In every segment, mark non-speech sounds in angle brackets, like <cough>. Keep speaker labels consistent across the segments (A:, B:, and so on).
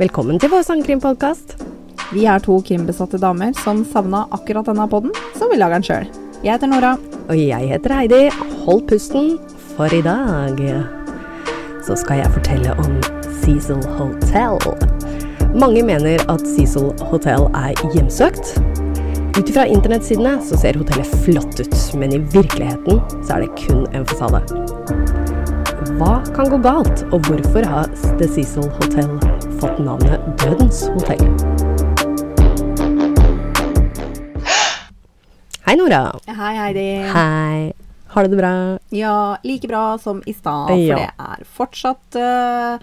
A: Velkommen til vår sangkrimpodkast.
B: Vi er to krimbesatte damer som savna akkurat denne podden, så vi lager den sjøl. Jeg heter Nora.
A: Og jeg heter Heidi. Hold pusten, for i dag så skal jeg fortelle om Cecil Hotel. Mange mener at Cecil Hotel er hjemsøkt. Ut ifra internettsidene så ser hotellet flott ut, men i virkeligheten så er det kun en fasade. Hva kan gå galt, og hvorfor har The Cecil Hotel fått navnet Dødens hotell? Hei, Nora.
B: Hei, Heidi.
A: Hei. Har du det bra?
B: Ja, like bra som i stad, for
A: Ja.
B: det er fortsatt eh,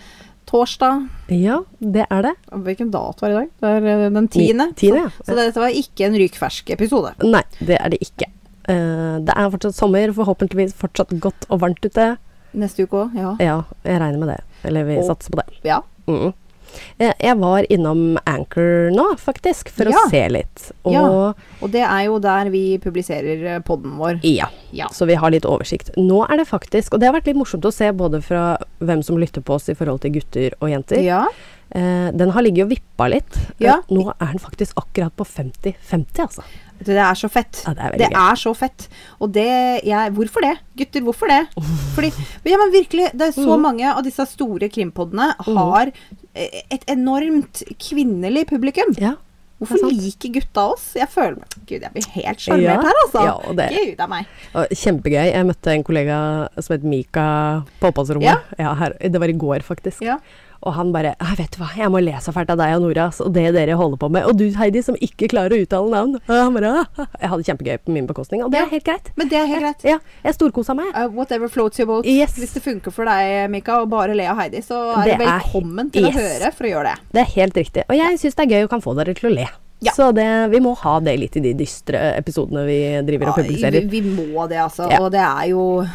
B: torsdag.
A: Ja, det er det.
B: Hvilken dato er det i dag? Det er eh, den tiende.
A: Ni- tiende, ja.
B: Så, så dette var ikke en rykfersk episode.
A: Nei, det er det ikke. Eh, det er fortsatt sommer, forhåpentligvis fortsatt godt og varmt ute.
B: Neste uke òg, ja.
A: Ja, jeg regner med det. Eller vi
B: Og-
A: satser på det.
B: ja.
A: Mm. Eh, Jeg var innom Anchor nå, faktisk, for
B: Ja.
A: å se litt. Og
B: Ja. Og det er jo der vi publiserer eh, podden vår.
A: Ja,
B: Ja.
A: så vi har litt oversikt. Nå er det faktisk, og det har vært litt morsomt å se både fra hvem som lytter på oss i forhold til gutter og jenter.
B: Ja.
A: Eh, den har ligget og vippa litt.
B: Ja.
A: Eh, Nå er den faktisk akkurat på 50-50, altså.
B: Vet du, Det er så fett.
A: Ja, det er veldig
B: det
A: gøy.
B: er så fett. Og det jeg Hvorfor det? Gutter, hvorfor
A: <laughs>
B: det? Fordi Ja, men virkelig, det er så
A: Mm.
B: mange av disse store krimpoddene har eh, et enormt kvinnelig publikum.
A: Ja, det er
B: Hvorfor
A: sant.
B: liker gutta oss? Jeg føler meg Gud, jeg blir helt sjarmert
A: Ja.
B: her, altså.
A: Ja, og det-
B: Gud a meg.
A: Og Kjempegøy. Jeg møtte en kollega som het Mika på oppholdsrommet. Ja. her, det var i går, faktisk.
B: Ja.
A: Og han bare «Nei, 'Vet du hva, jeg må le så fælt av deg og Nora ass, og det dere holder på med.' Og du, Heidi, som ikke klarer å uttale navn. Og han bare, «Ah, ah». jeg hadde kjempegøy på min bekostning, og det
B: Ja.
A: er helt greit.
B: Men det er helt greit.
A: Ja, jeg storkosa meg.
B: Uh, whatever floats your boat.
A: Yes.
B: Hvis det funker for deg, Mika, å bare le av Heidi, så er
A: Det
B: det,
A: er-
B: velkommen til
A: Yes.
B: å høre for å gjøre det.
A: Det er helt riktig. Og jeg syns det er gøy å kan få dere til å le.
B: Ja.
A: Så det, vi må ha det litt i de dystre eh, episodene vi driver og
B: Ja,
A: publiserer.
B: Vi, vi må det, altså.
A: Ja.
B: Og det er jo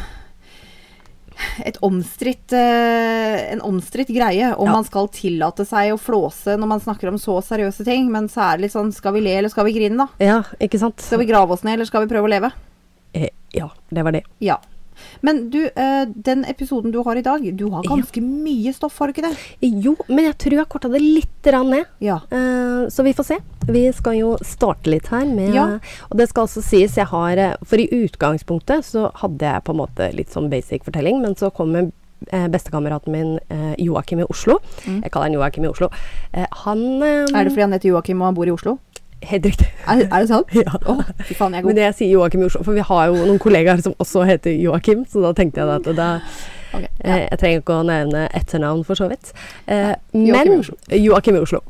B: et omstridt, eh, en omstridt greie om
A: Ja.
B: man skal tillate seg å flåse når man snakker om så seriøse ting. Men så er det litt sånn Skal vi le, eller skal vi grine, da?
A: Ja, ikke sant?
B: Skal vi grave oss ned, eller skal vi prøve å leve?
A: Eh, Ja, det var det.
B: Ja. Men du, eh, den episoden du har i dag, du har ganske mye stoff, har du ikke det?
A: Jo, men jeg tror jeg korta det litt rann ned.
B: Ja.
A: Eh, Så vi får se. Vi skal jo starte litt her med
B: Ja.
A: Og det skal også sies, jeg har eh, For i utgangspunktet så hadde jeg på en måte litt sånn basic fortelling, men så kommer eh, bestekameraten min eh, Joakim i Oslo. Jeg kaller han Joakim i Oslo. Eh, Han eh,
B: Mm. Er det fordi han heter Joakim og han bor i Oslo?
A: Helt riktig. <laughs>
B: Er, er det sant?
A: Ja.
B: Å, fy faen, jeg
A: Men
B: er god.
A: det jeg sier Joakim i Oslo, for vi har jo noen kollegaer som også heter Joakim, så da tenkte jeg da at da
B: Ok, ja.
A: eh, Jeg trenger ikke å nevne etternavn, for så vidt. Eh,
B: Joakim i
A: men
B: Oslo.
A: Joakim i Oslo.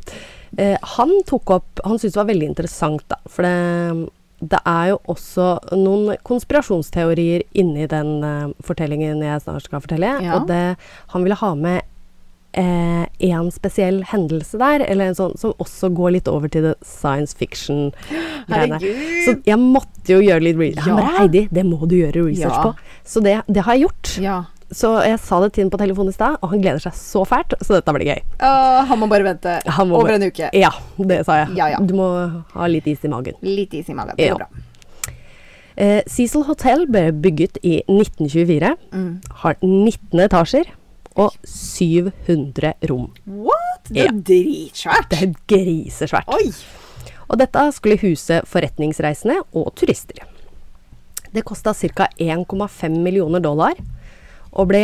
A: Eh, han tok opp Han syntes det var veldig interessant, da. For det, det er jo også noen konspirasjonsteorier inni den eh, fortellingen jeg snart skal fortelle.
B: Ja.
A: Og det, han ville ha med eh, en spesiell hendelse der, eller en sånn som også går litt over til det science
B: <gasps>
A: fiction-greiene.
B: Herregud!
A: Så jeg måtte jo gjøre litt research.
B: Ja.
A: Han bare, Heidi, det må du gjøre research
B: Ja.
A: på. Så det, det har jeg gjort.
B: Ja.
A: Så jeg sa det til ham på telefonen i stad, og han gleder seg så fælt, så dette blir gøy.
B: Å, han må bare vente
A: Han må
B: over
A: bare-
B: en uke.
A: Ja, det sa jeg.
B: Ja, ja.
A: Du må ha litt is i magen.
B: Litt is i magen. Det
A: Ja.
B: går bra.
A: Eh, Cecil Hotel ble bygget i 1924.
B: Mm.
A: Har 19 etasjer og 700 rom.
B: What? Det er
A: Ja.
B: dritsvært!
A: Det er grisesvært.
B: Oi!
A: Og dette skulle huse forretningsreisende og turister. Det kosta ca. 1,5 millioner dollar og ble,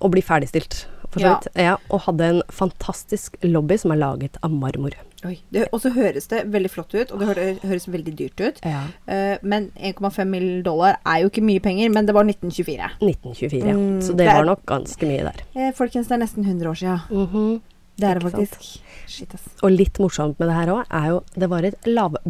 A: og blir ferdigstilt. For så
B: Ja.
A: vidt. Ja, og hadde en fantastisk lobby som er laget av marmor.
B: Oi. Det, og så høres det veldig flott ut, og det hø- høres veldig dyrt ut.
A: Ja.
B: Eh, men 1,5 mill. dollar er jo ikke mye penger, men det var 1924.
A: 1924, ja.
B: Mm,
A: Så
B: det
A: det
B: er-
A: var nok ganske mye der.
B: Eh, folkens, det er nesten 100 år sia. Det er det
A: Ikke sant?
B: Mm-hmm. faktisk. Shit, ass.
A: Og litt morsomt med det her òg, er jo det var et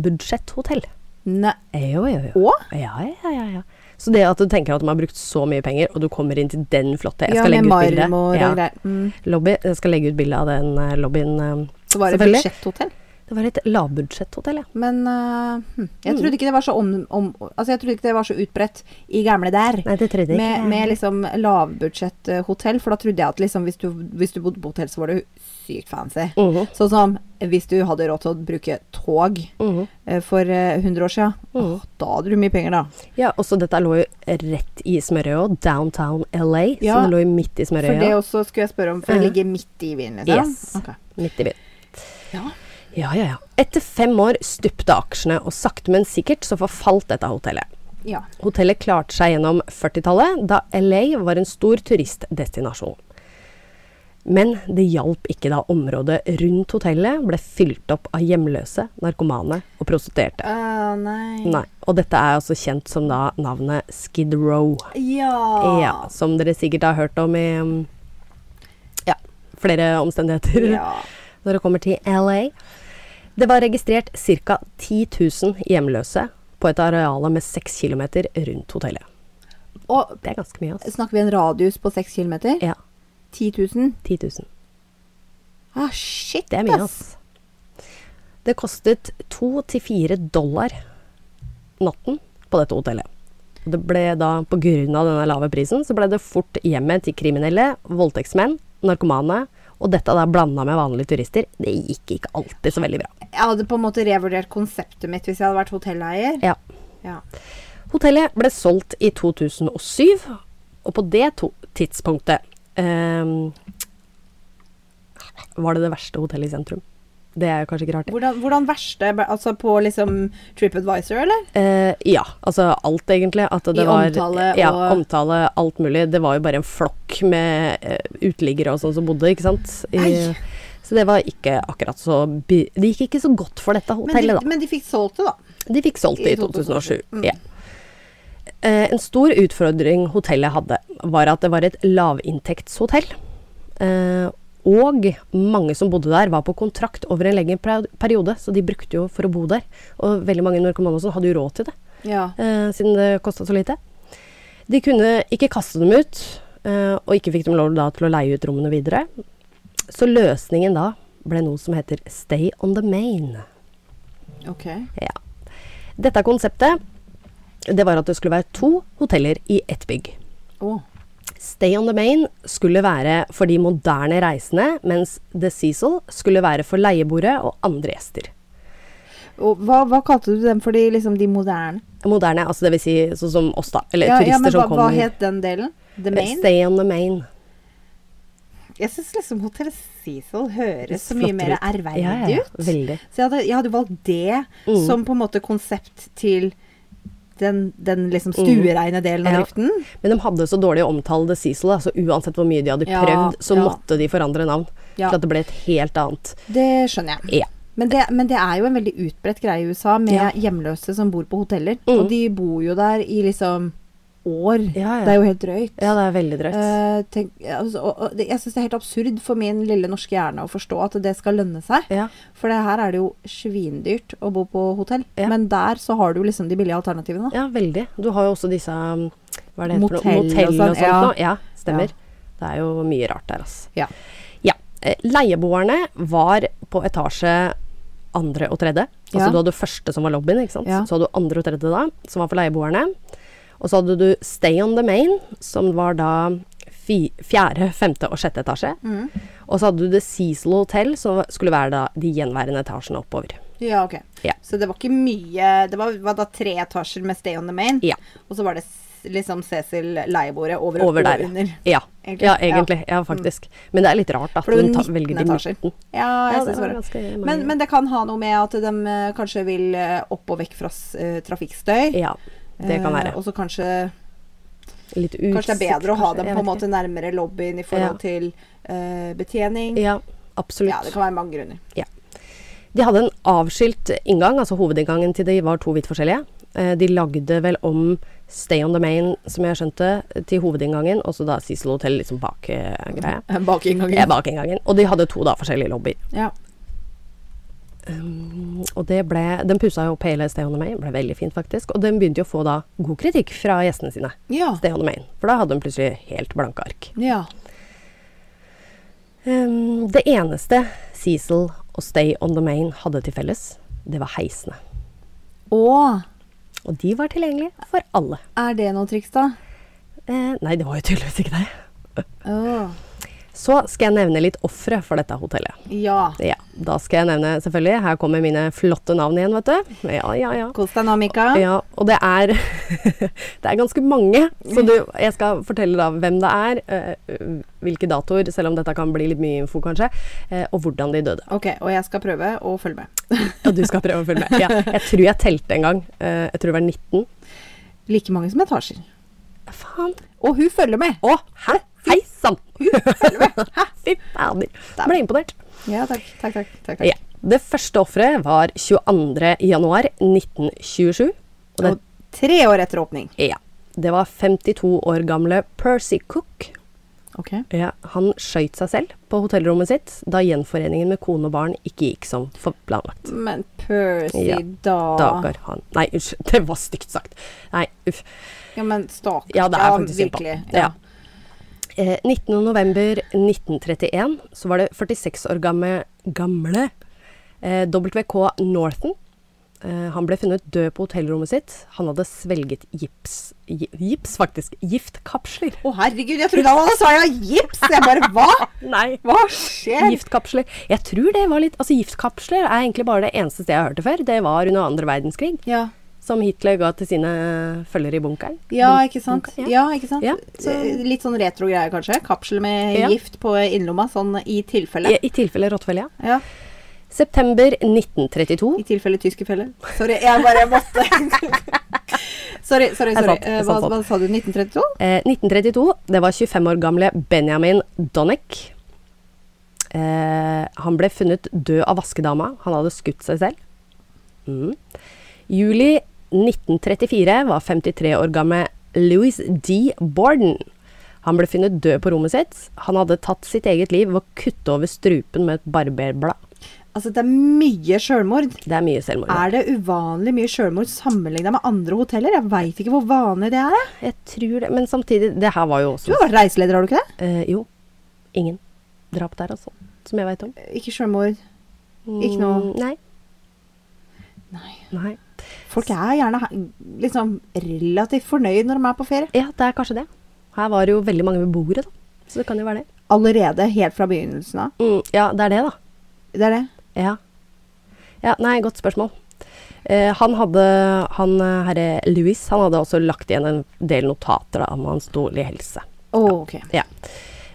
A: lavbudsjetthotell.
B: Nei.
A: Jo, jo, jo.
B: Og?
A: Ja, ja, ja, ja. Så det at du tenker at de har brukt så mye penger, og du kommer inn til den flotte Jeg
B: Ja,
A: skal
B: med
A: legge ut bilde.
B: marmor og
A: Ja.
B: greier. Mm.
A: Lobby. Jeg skal legge ut bilde av den eh, lobbyen. eh,
B: Så var det
A: selvfølgelig.
B: budsjetthotell.
A: Det var et lavbudsjetthotell, ja.
B: Men eh, hm, jeg trodde ikke det var så om, om Altså, jeg trodde ikke det var så utbredt i gamle der.
A: Nei, det trodde jeg ikke.
B: Med, med liksom lavbudsjetthotell, for da trodde jeg at liksom hvis du, hvis du bodde på hotell, så var det sykt fancy.
A: Mhm.
B: Sånn som hvis du hadde råd til å bruke tog
A: Mhm.
B: eh, for eh, 100 år siden.
A: Mhm.
B: Åh, da hadde du mye penger, da.
A: Ja, også dette lå jo rett i smørøya. Downtown LA,
B: Ja,
A: som lå jo midt i
B: For det
A: smørøya.
B: også skulle jeg spørre om, for det ligger midt i Wien, liksom.
A: Mm. Yes.
B: Ok.
A: Midt i byen.
B: Ja.
A: Ja, ja, ja. Etter fem år stupte aksjene, og sakte, men sikkert så forfalt dette hotellet.
B: ja.
A: Hotellet klarte seg gjennom 40-tallet, da LA var en stor turistdestinasjon. Men det hjalp ikke da området rundt hotellet ble fylt opp av hjemløse, narkomane og prostituerte.
B: Ah, nei.
A: Nei, og dette er altså kjent som da navnet Skid Row.
B: Ja.
A: Ja, som dere sikkert har hørt om i mm, ja, flere omstendigheter
B: Ja.
A: når det kommer til LA. Det var registrert ca. 10 000 hjemløse på et areal med 6 km rundt hotellet.
B: Og
A: Det er ganske mye, altså.
B: snakker vi en radius på 6 kilometer?
A: Ja,
B: 10 000?
A: 10 000.
B: Ah, shit,
A: Det er mye, altså. Det kostet 2-4 dollar natten på dette hotellet. Og det ble da, på grunn av denne lave prisen, så ble det fort hjemmet til kriminelle, voldtektsmenn, narkomane, og dette da blanda med vanlige turister. Det gikk ikke alltid så veldig bra.
B: Jeg hadde på en måte revurdert konseptet mitt hvis jeg hadde vært hotelleier.
A: Ja.
B: Ja.
A: Hotellet ble solgt i 2007, og på det to tidspunktet ehm, var det det verste hotellet i sentrum. Det er kanskje ikke rart. det.
B: Hvordan, hvordan verste Altså på liksom TripAdvisor, eller?
A: Eh, ja, altså alt egentlig. At det
B: I
A: var,
B: omtale
A: ja,
B: og-
A: omtale, alt mulig. Det var jo bare en flokk med eh, uteliggere og sånn som bodde, ikke sant.
B: Ei.
A: så det var ikke akkurat så by Det gikk ikke så godt for dette
B: Men de,
A: hotellet, da.
B: men de fikk solgt det, da.
A: De fikk solgt det i
B: I 2007.
A: 2007. Ja. Eh, en stor utfordring hotellet hadde, var at det var et lavinntektshotell. Eh, og mange som bodde der, var på kontrakt over en lengre per- periode, så de brukte jo for å bo der. Og veldig mange narkomane og sånn hadde jo råd til det,
B: Ja.
A: eh, siden det kosta så lite. De kunne ikke kaste dem ut, eh, og ikke fikk dem lov da til å leie ut rommene videre. Så løsningen da ble noe som heter Stay on the Main.
B: Ok.
A: Ja. Dette konseptet det var at det skulle være to hoteller i ett bygg.
B: Å.
A: Stay on the Main skulle være for de moderne reisende, mens The Cecil skulle være for leieboere og andre gjester.
B: Og hva, hva kalte du dem for de, liksom, de moderne?
A: Moderne, altså det vil si sånn som oss, da. Eller
B: Ja, ja, men
A: turister
B: hva,
A: som
B: hva
A: kommer. Eh,
B: het den delen? The Main?
A: Stay on the Main.
B: Jeg syns liksom Hotell Cecil høres så mye
A: Flottere
B: mer
A: ut.
B: ærverdig
A: Ja, ja,
B: ut.
A: veldig. Mm.
B: Så jeg hadde, jeg hadde valgt det som på en måte konsept til den, den liksom stuereine delen
A: Mm.
B: av
A: Ja.
B: driften.
A: Men de hadde så dårlig å omtale The Cecil, da, så uansett hvor mye de hadde
B: Ja,
A: prøvd, så
B: ja.
A: måtte de forandre navn.
B: Ja.
A: Til at det ble et helt annet.
B: Det skjønner jeg.
A: Ja.
B: Men det, men det er jo en veldig utbredt greie i USA med
A: Ja. Mm.
B: hjemløse som bor på hoteller. Og de bor jo der i liksom år.
A: Ja, ja.
B: Det er jo helt drøyt.
A: ja, det er veldig drøyt.
B: Eh, tenk, altså, og, og det, jeg syns det er helt absurd for min lille norske hjerne å forstå at det skal lønne seg.
A: Ja.
B: For det her er det jo svindyrt å bo på hotell.
A: Ja.
B: Men der så har du liksom de billige alternativene. da.
A: Ja, veldig. Du har jo også disse um, hva er det heter for noe?
B: Motell og
A: Motell og
B: sånn,
A: sånt.
B: ja.
A: nå. ja stemmer. Det er jo mye rart der, altså.
B: Ja.
A: Ja. eh, Leieboerne var på etasje andre og tredje. Altså
B: Ja.
A: du hadde første som var lobbyen, ikke sant.
B: Ja.
A: Så hadde du andre og tredje da, som var for leieboerne. Og så hadde du Stay on the Main, som var da fi, fjerde, femte og sjette etasje.
B: Mm.
A: Og så hadde du The Cecil Hotel, som skulle være da de gjenværende etasjene oppover.
B: Ja, ok.
A: Ja.
B: Så det var ikke mye Det var, var da tre etasjer med Stay on the Main.
A: Ja.
B: Og så var det s- liksom Cecil leiebordet over,
A: Over
B: og
A: der.
B: under.
A: Ja.
B: Egentlig.
A: ja, egentlig. Ja, faktisk. Men det er litt rart at
B: For det
A: den
B: var
A: ta,
B: 19
A: velger de
B: etasjer.
A: 19.
B: Ja,
A: Ja,
B: jeg
A: det
B: synes
A: var
B: det
A: ganske
B: var
A: mange.
B: men, men det kan ha noe med at de eh, kanskje vil eh, opp og vekk fra s- eh, trafikkstøy.
A: Ja, det kan
B: Eh,
A: være.
B: og så kanskje,
A: Litt utsikt.
B: Eh, kanskje det er bedre å ha
A: kanskje,
B: dem
A: jeg
B: på en
A: vet
B: måte nærmere lobbyen i
A: Ja.
B: forhold til eh, betjening.
A: ikke. Ja,
B: Ja, det
A: absolutt.
B: kan være mange
A: <laughs>
B: grunner.
A: De hadde en avskilt inngang, altså hovedinngangen til de var to vidt forskjellige. Eh, De lagde vel om Stay on the Main, som jeg skjønte, til hovedinngangen, og så da Cecil Hotel liksom bak eh, greia.
B: Bak inngangen.
A: Ja, bak inngangen. Og de hadde to da forskjellige lobbyer.
B: Ja.
A: Mm, Og det ble, den pussa jo opp hele Stay on the Main, ble veldig fint faktisk. Og den begynte jo å få da god kritikk fra gjestene sine.
B: Ja.
A: Stay on the Main, for da hadde hun plutselig helt blanke ark.
B: ja.
A: Ehm, det eneste Cecil og Stay on the Main hadde til felles, det var heisene.
B: Og
A: Og de var tilgjengelige for alle.
B: er det noe triks, da?
A: Eh, nei, det var jo tydeligvis ikke det.
B: Åh.
A: Så skal jeg nevne litt ofre for dette hotellet.
B: Ja.
A: Ja, Da skal jeg nevne, selvfølgelig, her kommer mine flotte navn igjen, vet du. Ja, ja, ja.
B: Kos deg nå, Mika.
A: Ja, og det er <laughs> Det er ganske mange, så du, jeg skal fortelle da hvem det er, eh, hvilke datoer, selv om dette kan bli litt mye info kanskje, eh, og hvordan de døde.
B: Ok, og jeg skal prøve å følge med. <laughs>
A: Og du skal prøve å følge med. Ja, jeg tror jeg telte en gang. eh, Jeg tror det var 19.
B: Like mange som etasjer.
A: Faen.
B: Og hun følger med!
A: Å, hæ? Hei sann!
B: Følger med. Hæ?
A: <laughs> Fy fader. Jeg Ble imponert.
B: Ja, takk. Takk, takk. takk, takk.
A: Ja. Det første offeret var 22.1.1927. Og det,
B: Og tre år etter åpning.
A: ja, det var 52 år gamle Percy Cook.
B: Ok.
A: Ja, han skøyt seg selv på hotellrommet sitt da gjenforeningen med kone og barn ikke gikk som for- planlagt.
B: Men Percy,
A: Ja,
B: da
A: Dagar han Nei, unnskyld, <laughs> det var stygt sagt. Nei, uff.
B: Ja, men stakkars.
A: Ja, det er faktisk synd på
B: virkelig.
A: han. Ja. Eh, 19.11.1931 så var det 46 år gamle, gamle eh, WK Northen. Eh, han ble funnet død på hotellrommet sitt. Han hadde svelget gips, gi- gips faktisk, giftkapsler.
B: Å, herregud, jeg trodde han hadde sa ja, gips! Jeg bare hva?
A: Nei.
B: Hva skjer?
A: Eh, Giftkapsler. Jeg tror det var litt Altså, giftkapsler er egentlig bare det eneste stedet jeg har hørt det før. Det var under andre verdenskrig,
B: Ja.
A: som Hitler ga til sine følgere i bunkeren.
B: ja,
A: Bunk-
B: ikke sant.
A: bunkeren,
B: Ja, ikke sant?
A: Ja, så-
B: Eh, Litt sånn retro greier, kanskje. Kapsel med
A: Ja.
B: gift på innlomma, sånn i tilfelle.
A: I, I tilfelle rottefelle, ja.
B: Ja.
A: September 1932.
B: I tilfelle tyske feller. Sorry, jeg bare måtte <laughs> Sorry, sorry. sorry.
A: Det er sant, det er
B: Eh, hva,
A: sant.
B: hva sa du? 1932?
A: Eh, 1932, det var 25 år gamle Benjamin Donick. Eh, han ble funnet død av vaskedama. Han hadde skutt seg selv. Mm. Juli 1934 var 53 år gamle Louis D. Borden. Han ble funnet død på rommet sitt. Han hadde tatt sitt eget liv ved å kutte over strupen med et barberblad.
B: Altså, det er mye sjølmord.
A: Det er mye selvmord.
B: Er det uvanlig mye sjølmord sammenligna med andre hoteller? Jeg veit ikke hvor vanlig det er. jeg.
A: Jeg tror det, men samtidig Det her var jo
B: Du
A: også
B: har vært reiseleder, har du ikke det?
A: eh, Jo, ingen drap der, altså. Som jeg veit om.
B: Ikke sjølmord. Ikke noe-
A: Mm, Nei.
B: Nei.
A: Nei.
B: Folk er gjerne he- liksom relativt fornøyd når de er på ferie.
A: Ja, det er kanskje det. Her var det jo veldig mange beboere, da. Så det kan jo være det.
B: Allerede helt fra begynnelsen av.
A: Mm, ja, det er det, da.
B: Det er det.
A: Ja. ja nei, godt spørsmål. Eh, han hadde Han eh, herre Louis, han hadde også lagt igjen en del notater da, om hans dårlige helse.
B: Å, ok.
A: Ja.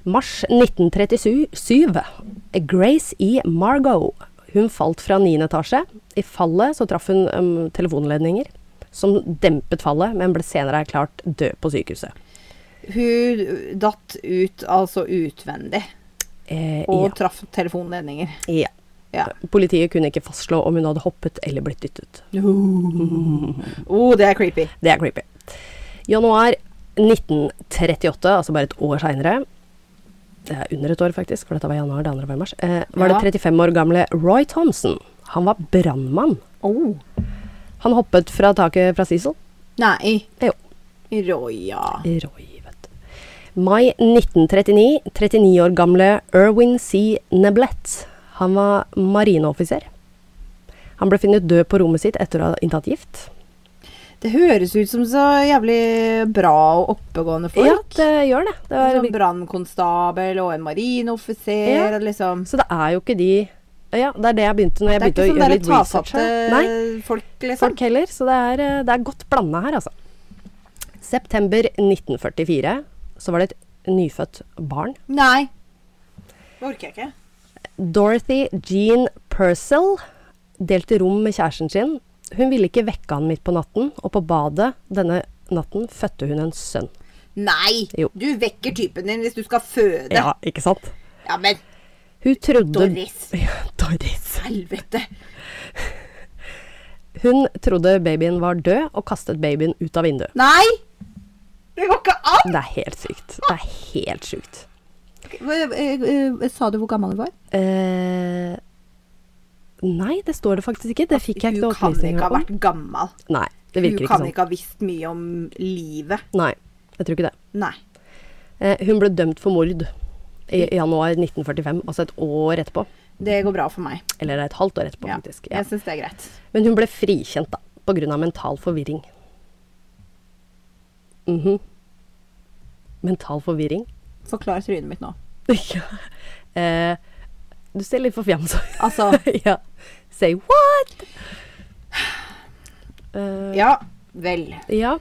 A: Mars 1937. Grace E. Margot. Hun falt fra 9. etasje. I fallet så traff hun em, telefonledninger, som dempet fallet, men ble senere erklært død på sykehuset.
B: Hun datt ut, altså utvendig,
A: Eh,
B: og
A: ja.
B: traff telefonledninger.
A: ja.
B: Ja.
A: Politiet kunne ikke fastslå om hun hadde hoppet eller blitt dyttet. Mm.
B: Oh, det er creepy.
A: Det er creepy. Januar 1938, altså bare et år seinere Det er under et år, faktisk, for dette var januar, det andre var i mars. Eh, var
B: Ja.
A: det 35 år gamle Roy Thompson. Han var brannmann.
B: Oh.
A: Han hoppet fra taket fra Cecil.
B: Nei.
A: Jo.
B: Roya.
A: Roy, vet du. Mai 1939, 39 år gamle Erwin C. Neblett. Han var marineoffiser. Han ble funnet død på rommet sitt etter å ha inntatt gift.
B: Det høres ut som så jævlig bra og oppegående folk.
A: Ja, det gjør det. det er,
B: Sånn brannkonstabel og en marinoffiser
A: Ja.
B: og liksom
A: Så det er jo ikke de Ja, det er det jeg begynte når jeg
B: Det er
A: begynte
B: ikke
A: å
B: sånn
A: gjøre
B: derre
A: litt research.
B: tafatte
A: her. Nei,
B: folk, liksom.
A: folk heller. Så det er, eh, det er godt blanda her, altså. September 1944 så var det et nyfødt barn.
B: Nei. Det orker jeg ikke.
A: Dorothy Jean Purcell delte rom med kjæresten sin. Hun ville ikke vekke han midt på natten, og på badet denne natten fødte hun en sønn.
B: Nei!
A: Jo.
B: Du vekker typen din hvis du skal føde. Ja,
A: Ja, ikke sant?
B: men
A: Hun trodde
B: Doris.
A: <laughs> Ja, Doris.
B: helvete!
A: Hun trodde babyen var død, og kastet babyen ut av vinduet.
B: Nei! Det går ikke an!
A: Det er helt sykt. Det er helt sykt.
B: Sa du hvor gammel du var?
A: Eh, nei, det står det faktisk ikke. Det fikk jeg ikke
B: Hun
A: noe
B: kan ikke
A: opplysninger
B: ha
A: om.
B: vært gammel.
A: Nei, det
B: Hun
A: virker ikke
B: kan
A: sånn.
B: ikke ha visst mye om livet.
A: Nei, jeg tror ikke det.
B: Nei.
A: Eh, hun ble dømt for mord i i januar 1945, altså et år etterpå.
B: Det går bra for meg.
A: Eller et halvt år etterpå,
B: Ja.
A: faktisk. Ja.
B: Jeg syns det er greit.
A: Men hun ble frikjent, da, på grunn av mental forvirring. Mhm. Mental forvirring?
B: Forklar trynet mitt nå.
A: <laughs> Ja. Eh, du ser litt forfjamsa ut.
B: Altså,
A: <laughs> ja. Say what? Eh,
B: ja vel.
A: Ja.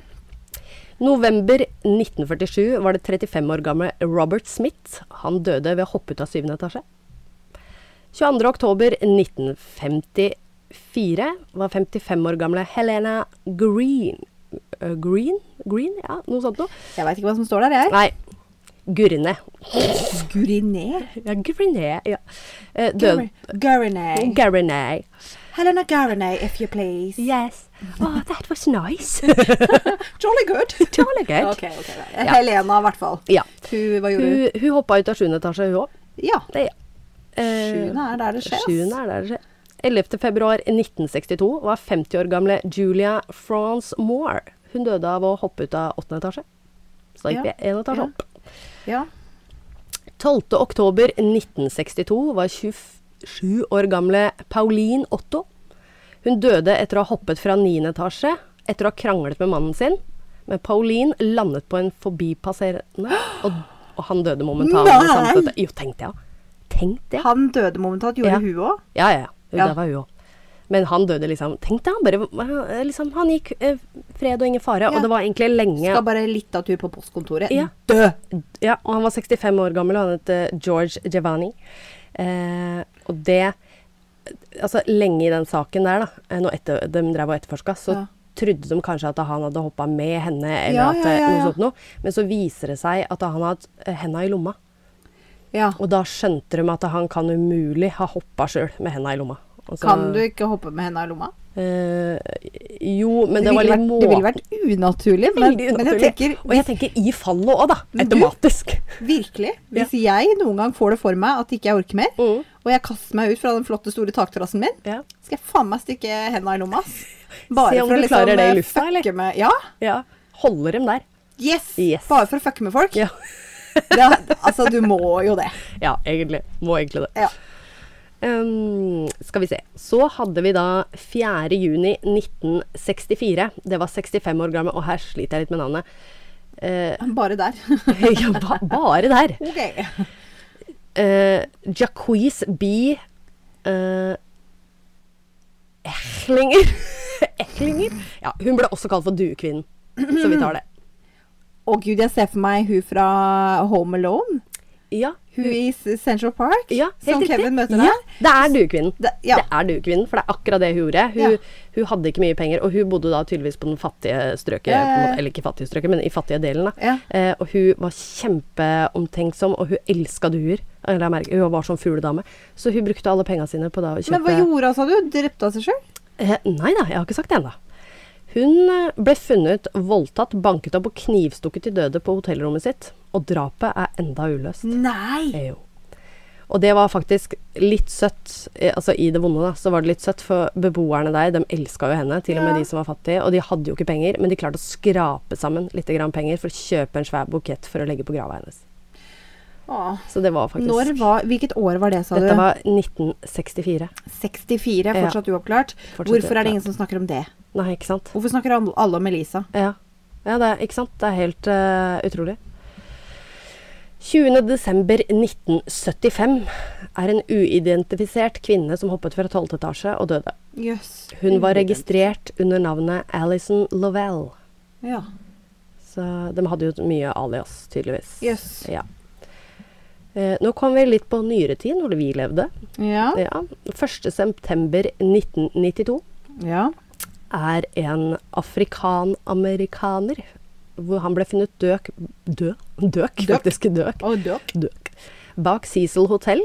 A: November 1947 var det 35 år gamle Robert Smith. Han døde ved å hoppe ut av syvende etasje. 22. oktober 1954 var 55 år gamle Helena Green Eh, Green? Green? Ja, noe sånt noe.
B: Jeg veit ikke hva som står der, jeg.
A: Nei. Gurne.
B: Guriné?
A: Ja, Gurne, ja. Eh, Død.
B: Guriné.
A: Gurne.
B: Helena Guriné, if you please.
A: <laughs> Yes. Oh, that was nice.
B: <laughs> Jolly
A: <laughs>
B: good.
A: Jolly good.
B: Ok, ok. da. Helena, i hvert fall.
A: Ja.
B: Hun, hva gjorde hun?
A: Hun, hun hoppa ut av sjuende etasje, hun òg.
B: Ja.
A: Det, eh,
B: Sjuende er der det skjer. ass.
A: Sjuende er der det skjer. 11. februar 1962 var 50 år gamle Julia France Moore. Hun døde av å hoppe ut av åttende etasje. Så da gikk
B: Ja,
A: vi én etasje
B: ja.
A: opp.
B: Ja.
A: 12. oktober 1962 var 27 år gamle Pauline Otto. Hun døde etter å ha hoppet fra 9. etasje etter å ha kranglet med mannen sin. Men Pauline landet på en forbipasserende, og, og han døde momentant.
B: Nei!
A: samtidig. Jo, tenk det, ja. Tenk det.
B: Han døde momentant. Gjorde
A: Ja.
B: hun òg?
A: Ja, ja. Jo,
B: Ja.
A: det var hun òg. Men han døde liksom Tenk deg, han bare eh, liksom, Han gikk eh, fred og ingen fare,
B: Ja.
A: og det var egentlig lenge
B: Skal bare litt av tur på postkontoret.
A: Ja.
B: Dø!
A: Ja, og han var 65 år gammel, og han het eh, George Giovanni. Eh, og det Altså, lenge i den saken der, da, eh, når etter, de drev og etterforska, så
B: Ja.
A: trodde de kanskje at han hadde hoppa med henne, eller
B: Ja,
A: at,
B: ja,
A: eh,
B: ja,
A: noe
B: ja.
A: sånt noe. Men så viser det seg at han hadde eh, henda i lomma.
B: Ja.
A: Og da skjønte de at han kan umulig ha hoppa sjøl med henda i lomma. Og så-
B: Kan du ikke hoppe med henda i lomma?
A: Eh, jo, men det,
B: det,
A: var
B: ville
A: litt
B: vært,
A: må...
B: det ville vært unaturlig, men,
A: Veldig
B: men jeg
A: unaturlig.
B: tenker
A: Og jeg tenker i fallet òg, da.
B: Men du-
A: Automatisk.
B: virkelig Hvis jeg noen gang får det for meg at ikke jeg orker mer,
A: Mm.
B: og jeg kaster meg ut fra den flotte, store takterrassen min,
A: Ja.
B: skal jeg faen meg stikke henda i lomma. ass.
A: <laughs> Se om du klarer det i lufta,
B: liksom, eh, fucke
A: eller?
B: med Ja!
A: ja. Holder dem der.
B: Yes!
A: Yes.
B: Bare for å fucke med folk.
A: Ja.
B: <laughs> det, altså, du må jo det.
A: ja, egentlig. Må egentlig det.
B: Ja.
A: Ehm, skal vi se. Så hadde vi da 4. juni 1964. Det var 65 år gammel, og her sliter jeg litt med navnet. Eh, <laughs>
B: Bare der. <laughs>
A: ja, ba bare der.
B: ok.
A: Uh, Jacquees B. eh, <laughs> Echlinger. Echlinger? Ja, hun ble også kalt for duekvinnen, så vi
B: <clears throat>
A: tar det.
B: Å gud, jeg ser for meg hun fra Home Alone.
A: Ja,
B: Hun i S- Central Park.
A: ja helt
B: som
A: riktig.
B: Kevin møter
A: ja,
B: der.
A: det er duekvinnen.
B: Det- ja.
A: Det er duekvinnen, for det er akkurat det hun gjorde. Hun,
B: Ja.
A: hun hadde ikke mye penger, og hun bodde da tydeligvis på den fattige strøket,
B: Ja, ja, ja.
A: på en måte, eller ikke fattige strøket, men i fattige delen. da.
B: Ja.
A: Eh, og hun var kjempeomtenksom, og hun elska duer. Eller jeg merker, hun var sånn fugledame. Så hun brukte alle pengene sine på da å kjøpe
B: Men hva gjorde hun, sa du? Drepte hun seg sjøl?
A: Eh, nei da, jeg har ikke sagt det ennå. Hun eh, ble funnet voldtatt, banket opp og knivstukket til døde på hotellrommet sitt. Og drapet er enda uløst.
B: Nei!
A: Eh, jo. Og det var faktisk litt søtt. eh, Altså i det vonde, da, så var det litt søtt, for beboerne der, de elska jo henne. Til og
B: Ja.
A: med de som var fattige. Og de hadde jo ikke penger, men de klarte å skrape sammen litt grann penger for å kjøpe en svær bukett for å legge på grava hennes.
B: Åh.
A: Så det var faktisk
B: Når var, hvilket år var det, sa
A: Dette
B: du?
A: var 1964.
B: 64, fortsatt uoppklart.
A: Fortsatt
B: Hvorfor er
A: uoppklart.
B: det ingen som snakker om det?
A: Nei, ikke sant?
B: Hvorfor snakker alle- alle om Elisa?
A: Ja, ja det er, ikke sant? Det er helt eh, utrolig. 20. desember 1975 er en uidentifisert kvinne som hoppet fra 12. etasje og døde.
B: Jøss.
A: Hun var registrert under navnet Alison Lovell.
B: Ja.
A: Så de hadde jo mye alias, tydeligvis.
B: Jøss.
A: Ja. Eh, nå kom vi litt på nyere tid, når vi levde.
B: Ja.
A: Ja. 1. september 1992
B: ja.
A: er en afrikan-amerikaner. Hvor han ble funnet døk Død? Døk,
B: Døk.
A: faktisk. Døk.
B: Og døkk.
A: Døk. Bak Cecil hotell.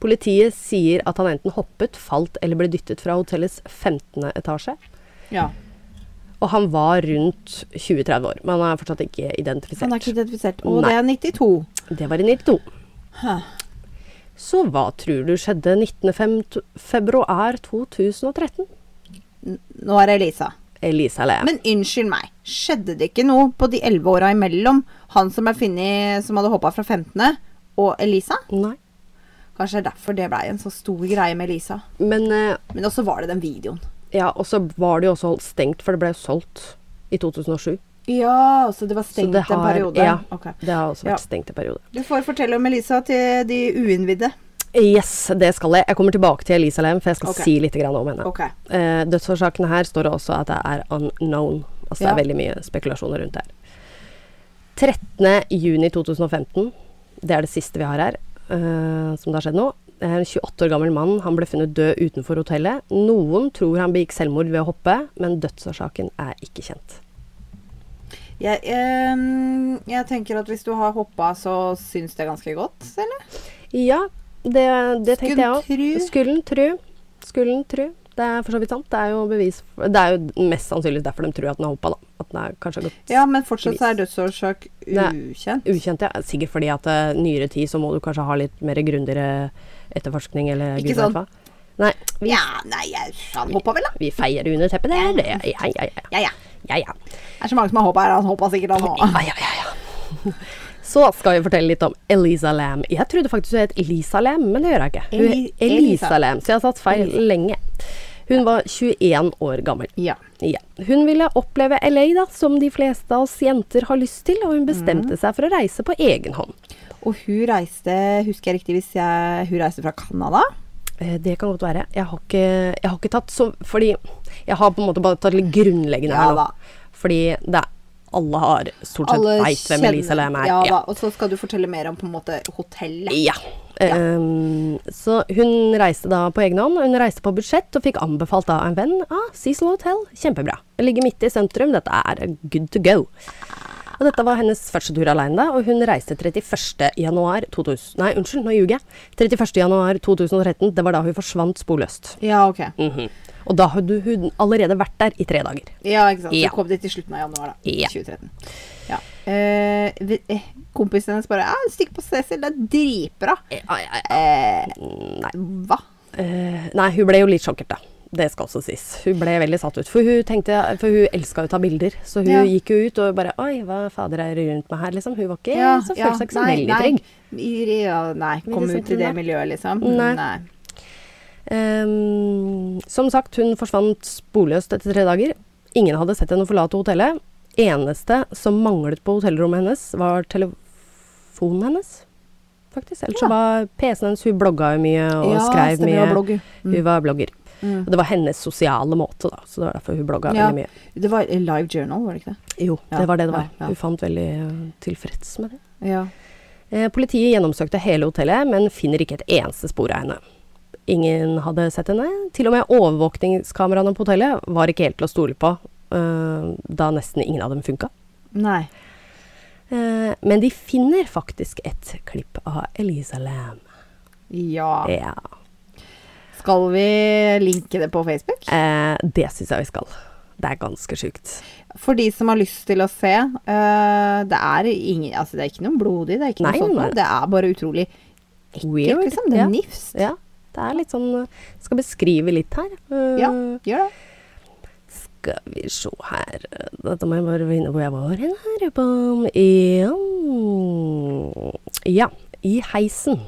A: Politiet sier at han enten hoppet, falt eller ble dyttet fra hotellets 15. etasje.
B: Ja.
A: Og han var rundt 20-30 år, men han er fortsatt ikke
B: Han er
A: identifisert.
B: ikke identifisert. Og det er 92.
A: Det var i 92.
B: Hæ.
A: Så hva tror du skjedde 19. fem- februar 2013?
B: N- Nå er det Elisa.
A: Elisa Lea.
B: Men unnskyld meg, skjedde det ikke noe på de elleve åra imellom han som er funnet som hadde hoppa fra 15., og Elisa?
A: Nei.
B: Kanskje det er derfor det blei en så stor greie med Elisa.
A: Men eh,
B: Men også var det den videoen.
A: Ja, og så var det jo også holdt stengt, for det ble jo solgt i 2007.
B: Ja, så det var stengt
A: det
B: en
A: har-
B: periode?
A: ja.
B: Ok.
A: Det har også
B: Ja.
A: vært stengt en periode.
B: Du får fortelle om Elisa til de uinnvidde.
A: Yes, det skal jeg. Jeg kommer tilbake til Elisa Lem, for jeg skal
B: Ok.
A: si litt grann om henne.
B: Ok.
A: Eh, dødsårsaken her står det også at det er unknown. Altså det
B: Ja.
A: er veldig mye spekulasjoner rundt det her. 13. juni 2015, det er det siste vi har her, eh, som det har skjedd nå. Det er En 28 år gammel mann han ble funnet død utenfor hotellet. Noen tror han begikk selvmord ved å hoppe, men dødsårsaken er ikke kjent.
B: Jeg, ehm, jeg tenker at hvis du har hoppa, så syns det er ganske godt, eller?
A: Ja, det, det tenkte jeg òg.
B: Skulle tru.
A: Skulden tru. Skulden tru. Det er for så vidt sant. Det er jo bevis for, Det er jo mest sannsynlig derfor de tror at den har hoppa, da. At den er kanskje har gått
B: Ja, men fortsatt så er dødsårsak
A: Nei.
B: ukjent.
A: Ukjent, ja. Sikkert fordi at eh, nyere tid så må du kanskje ha litt mer grundigere etterforskning eller
B: Ikke
A: gud vet
B: sant?
A: hva. Nei, vi,
B: Ja, nei, jeg han hoppa vel, da.
A: vi feier det under teppet, det er det. Ja, ja, ja.
B: Ja, ja.
A: Ja, ja.
B: Det er så mange som har hoppa her. Han hoppa sikkert, han òg.
A: Ja, ja, ja, ja. <laughs> Så skal vi fortelle litt om Elisa Lam. Jeg trodde faktisk hun het Elisa Lam, men det gjør hun ikke. Hun
B: Eli-
A: Elisa. Elisa Lam, så jeg har tatt feil lenge. Hun var 21 år gammel.
B: Ja.
A: Ja. Hun ville oppleve LA, da, som de fleste av oss jenter har lyst til, og hun bestemte
B: Mhm.
A: seg for å reise på egen hånd.
B: Og hun reiste, husker jeg riktig, hvis jeg Hun reiste fra Canada?
A: Eh, Det kan godt være. Jeg har ikke, jeg har ikke tatt så Fordi jeg har på en måte bare tatt litt grunnleggende
B: Ja
A: her nå.
B: da.
A: Fordi det er alle har stort sett veit hvem Elisa Lam er.
B: Ja, da. Og så skal du fortelle mer om på en måte hotellet.
A: Ja. Ehm, så hun reiste da på egen hånd. Hun reiste på budsjett og fikk anbefalt da av en venn ah, Cecil Hotel. Kjempebra. Det ligger midt i sentrum. Dette er good to go. Og dette var hennes første tur alene, da, og hun reiste 31. januar 2000, Nei, unnskyld, nå ljuger jeg. 31. januar 2013, det var da hun forsvant sporløst.
B: Ja, ok.
A: Mhm. Og da hadde hun allerede vært der i tre dager.
B: Ja, ikke sant. Så
A: Ja.
B: kom det til slutten av januar, da.
A: Ja.
B: 2013. Ja. Eh, vi- eh, kompisen hennes bare «Ja, 'Stikk på Cecil, det er dritbra'. Eh,
A: Mm, Nei.
B: hva?
A: Eh, nei, hun ble jo litt sjokkert, da. Det skal også sies. Hun ble veldig satt ut. For hun tenkte, for hun elska jo å ta bilder, så hun
B: Ja.
A: gikk jo ut og bare Oi, hva fader er det rundt meg her, liksom? Hun var ikke så følte seg ikke så
B: nei,
A: veldig
B: nei.
A: trygg.
B: I- Ja, nei, kom
A: det
B: ut i det
A: sentrum, da?
B: miljøet, liksom.
A: Nei.
B: nei.
A: Ehm, som sagt, hun forsvant sporløst etter tre dager. Ingen hadde sett henne forlate hotellet. Eneste som manglet på hotellrommet hennes, var telefonen hennes. Faktisk. Ellers så
B: Ja.
A: var PC-en hennes Hun blogga jo mye og
B: Ja,
A: skrev
B: stemmer,
A: mye.
B: hun var blogger. Mm.
A: Hun var blogger.
B: Mm.
A: Og det var hennes sosiale måte, da. Så det var derfor hun blogga
B: Ja.
A: veldig mye.
B: Det var eh, Live Journal, var det ikke det?
A: Jo,
B: Ja,
A: det var det det var.
B: ja, ja.
A: Hun fant veldig eh, tilfreds med det.
B: Ja.
A: Eh, Politiet gjennomsøkte hele hotellet, men finner ikke et eneste spor av henne. Ingen hadde sett henne. Til og med overvåkningskameraene på hotellet var ikke helt til å stole på, eh, da nesten ingen av dem funka.
B: Nei.
A: Eh, Men de finner faktisk et klipp av Elisa Lam.
B: Ja.
A: Ja.
B: Skal vi linke det på Facebook?
A: Eh, Det syns jeg vi skal. Det er ganske sjukt.
B: For de som har lyst til å se, eh, det, er ingen, altså det er ikke noe blodig, det er ikke noe
A: Nei,
B: sånt
A: nei.
B: noe. Det er bare utrolig ekkelt, liksom. Det er
A: ja.
B: nifst.
A: ja. Det er litt sånn eh, Skal beskrive litt her. Eh,
B: Ja, gjør det.
A: Skal vi se her Dette må jeg bare finne hvor jeg var hen her. på- Ja. ja, i heisen.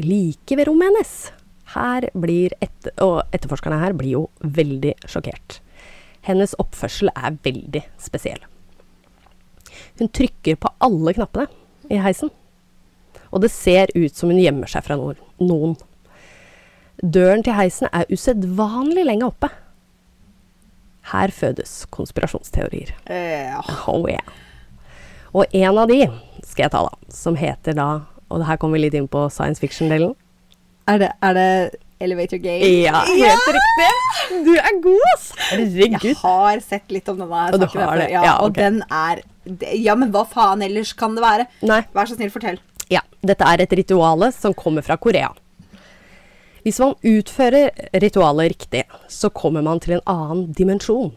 A: Like ved rommet hennes. Her blir etter, og etterforskerne her blir jo veldig sjokkert. Hennes oppførsel er veldig spesiell. Hun trykker på alle knappene i heisen. Og det ser ut som hun gjemmer seg fra noen. noen. Døren til heisen er usedvanlig lenge oppe. Her fødes konspirasjonsteorier.
B: Eh, ja.
A: Oh yeah. Og en av de skal jeg ta, da, som heter da Og her kommer vi litt inn på science fiction-delen.
B: er, det, er det Elevator Game?
A: Ja, helt riktig! Du er god, ass!
B: Jeg
A: Herregud.
B: har sett litt om denne her
A: Og du
B: saken.
A: har
B: her før.
A: det?
B: Ja,
A: Ja,
B: Og
A: ok.
B: den er det- Ja, men hva faen ellers kan det være?
A: Nei.
B: Vær så snill, fortell.
A: Ja, dette er et rituale som kommer fra Korea. Hvis man utfører ritualet riktig, så kommer man til en annen dimensjon.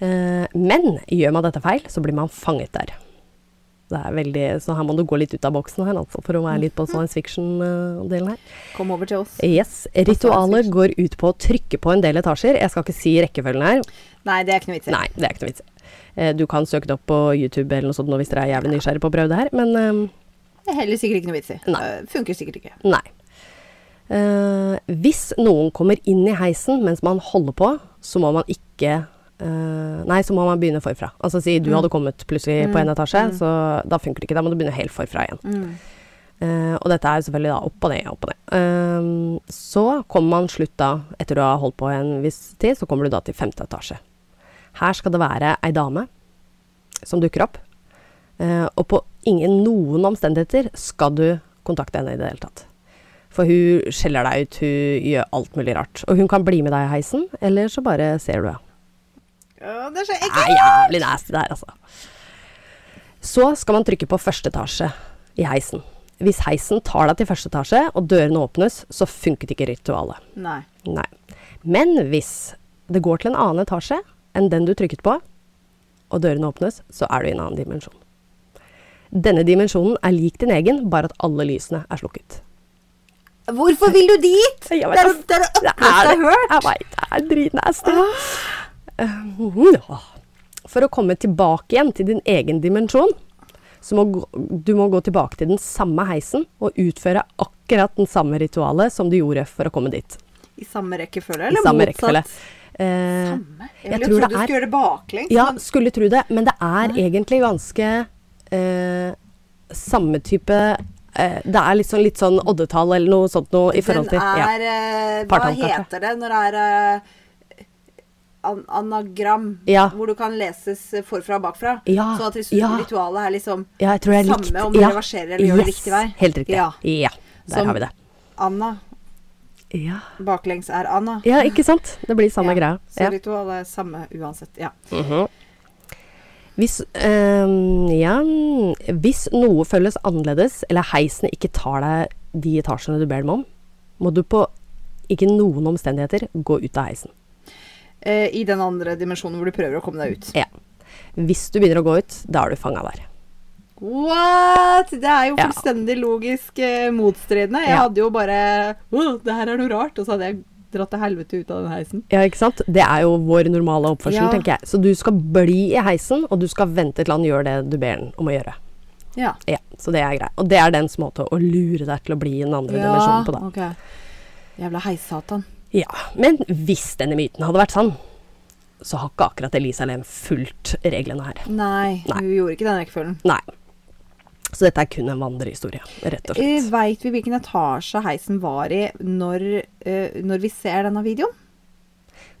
A: Eh, men gjør man dette feil, så blir man fanget der. Det er veldig, så her må du gå litt ut av boksen her, altså, for å være litt på science fiction-delen her.
B: Kom over til oss.
A: Yes, Ritualet går ut på å trykke på en del etasjer. Jeg skal ikke si rekkefølgen her.
B: Nei, det er ikke noe vits i.
A: Nei, det er ikke noe vits. Eh, Du kan søke det opp på YouTube eller noe sånt nå hvis dere er jævlig nysgjerrig på å prøve det her, men eh,
B: Det er heller sikkert ikke noe vits i.
A: Nei.
B: Eh, Funker sikkert ikke.
A: Nei. Eh, hvis noen kommer inn i heisen mens man holder på, så må man ikke eh, Nei, så må man begynne forfra. Altså si du
B: Mm.
A: hadde kommet plutselig på
B: Mm.
A: en etasje,
B: Mm.
A: så da funker det ikke. Da må du begynne helt forfra igjen.
B: Mm.
A: Eh, og dette er jo selvfølgelig da opp og ned, opp og ned. Ehm, så kommer man slutt da, etter du har holdt på en viss tid, så kommer du da til femte etasje. Her skal det være ei dame som dukker opp. eh, og på ingen noen omstendigheter skal du kontakte henne i det hele tatt. For hun skjeller deg ut, hun gjør alt mulig rart. Og hun kan bli med deg i heisen, eller så bare ser du henne.
B: Å, det er så
A: Det er
B: ekkelt!
A: jævlig nasty der, altså. Så skal man trykke på første etasje i heisen. Hvis heisen tar deg til første etasje, og dørene åpnes, så funket ikke ritualet.
B: Nei.
A: Nei. Men hvis det går til en annen etasje enn den du trykket på, og dørene åpnes, så er du i en annen dimensjon. Denne dimensjonen er lik din egen, bare at alle lysene er slukket.
B: Hvorfor vil du dit? Det
A: Jeg vet
B: er
A: ikke.
B: det er det økleste jeg har hørt.
A: Jeg vet, det er dritnasty. Eh, ja. For å komme tilbake igjen til din egen dimensjon, så må gå- du må gå tilbake til den samme heisen og utføre akkurat den samme ritualet som du gjorde for å komme dit.
B: I samme rekkefølge,
A: I
B: eller
A: samme
B: motsatt?
A: rekkefølge. Eh,
B: Samme? Jeg,
A: Jeg
B: ville
A: tror det
B: trodd du
A: er-
B: skulle gjøre det baklengs.
A: ja,
B: men-
A: skulle tro det, men det er egentlig ganske eh, samme type eh, Det er litt sånn, litt sånn oddetall eller noe sånt noe i forhold til
B: Den
A: ja.
B: er eh, Hva
A: Partall, kanskje.
B: heter det når det er eh, an anagram?
A: Ja.
B: Hvor du kan leses forfra og bakfra?
A: Ja,
B: Sånn at hvis
A: ja.
B: ritualet er liksom
A: Ja, jeg tror jeg
B: samme
A: likte-
B: om du
A: ja.
B: reverserer eller gjør det
A: Yes,
B: riktig vei?
A: Helt riktig. Ja.
B: Ja.
A: der
B: Som-
A: har vi det.
B: Anna.
A: Ja.
B: Baklengs er Anna.
A: ja, ikke sant? Det blir samme
B: Ja,
A: greia.
B: Så
A: Ja.
B: ritualet er samme uansett. Ja.
A: Mhm. Hvis, ehm, ja, hvis noe føles annerledes, eller heisene ikke tar deg de etasjene du ber dem om, må du på ikke noen omstendigheter gå ut av heisen.
B: Eh, I den andre dimensjonen hvor du prøver å komme deg ut.
A: Ja. Hvis du begynner å gå ut, da er du fanga der.
B: What?! Det er jo
A: Ja.
B: fullstendig logisk eh, motstridende. Jeg
A: Ja.
B: hadde jo bare «Åh, Det her er noe rart. Og så hadde jeg dratt til helvete ut av den heisen.
A: Ja, ikke sant? Det er jo vår normale oppførsel,
B: Ja.
A: tenker jeg. Så du skal bli i heisen, og du skal vente til han gjør det du ber han om å gjøre.
B: Ja.
A: Ja, så det er greit. Og det er dens måte å lure deg til å bli i den andre dimensjonen på, da.
B: ok. Jævla heissatan.
A: Ja, men hvis denne myten hadde vært sann, så har ikke akkurat Elisa Lem fulgt reglene her.
B: Nei,
A: Nei.
B: hun gjorde ikke den rekkefølgen.
A: Nei. Så dette er kun en vandrehistorie, rett og slett.
B: Eh, Veit vi hvilken etasje heisen var i når, eh, når vi ser denne videoen?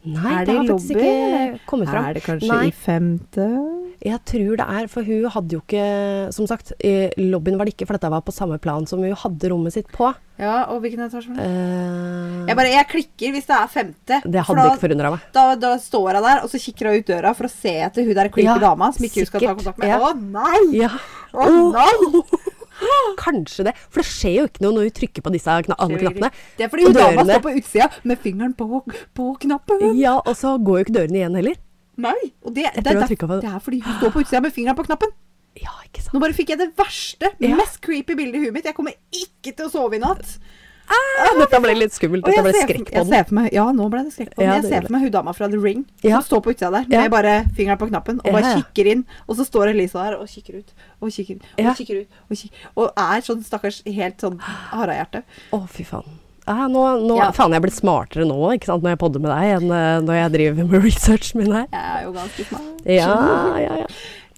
A: Nei,
B: er
A: det
B: det i
A: har faktisk
B: lobby,
A: ikke kommet fram.
B: Er det kanskje
A: Nei.
B: i femte?
A: Jeg tror det er, for hun hadde jo ikke Som sagt, i lobbyen var det ikke, for dette var på samme plan som hun hadde rommet sitt på.
B: Ja, og hvilken etasje var det?
A: Eh,
B: Jeg bare, jeg klikker hvis det er femte.
A: det
B: for
A: hadde
B: da-
A: ikke forundra meg.
B: da, da står jeg der, og så kikker jeg ut døra for å se etter hun der creepy
A: Ja,
B: dama som ikke hun skal ta
A: sikkert.
B: kontakt med.
A: Ja.
B: Å nei!
A: Ja.
B: Å nei!
A: <laughs> Kanskje det. For det skjer jo ikke noe når hun trykker på disse kna alle knappene.
B: Det er fordi
A: Og
B: hun dama
A: dørene-
B: står på utsida med fingeren på, på knappen.
A: Ja, og så går jo ikke dørene igjen heller.
B: Nei! Og det,
A: tror
B: det, er
A: jeg
B: derf-
A: trykket på-
B: det er fordi hun står på utsida med fingeren på knappen.
A: Ja, ikke sant.
B: Nå bare fikk jeg det verste,
A: Ja.
B: mest creepy bildet i huet mitt. Jeg kommer ikke til å sove i natt.
A: Ah, dette ble litt skummelt.
B: Og
A: Dette
B: jeg
A: ble
B: ser for-
A: skrekk på
B: jeg
A: den.
B: ser for meg, ja, nå ble det skrekk på den.
A: Ja,
B: jeg
A: det
B: ser
A: gjorde
B: for meg hun dama fra The Ring
A: Ja.
B: som står på utsida der
A: Ja.
B: med bare fingeren på knappen og bare
A: Ja, ja.
B: kikker inn. Og så står Elisa der og kikker ut og kikker inn, og
A: Ja.
B: kikker ut og kikker Og er sånn stakkars helt sånn harehjerte.
A: Å, fy faen. Ah, nå, nå,
B: Ja.
A: Faen, jeg er blitt smartere nå ikke sant, når jeg podder med deg, enn eh, når jeg driver med <laughs> researchen min her.
B: Jeg er jo ganske smart.
A: Ja, ja, ja.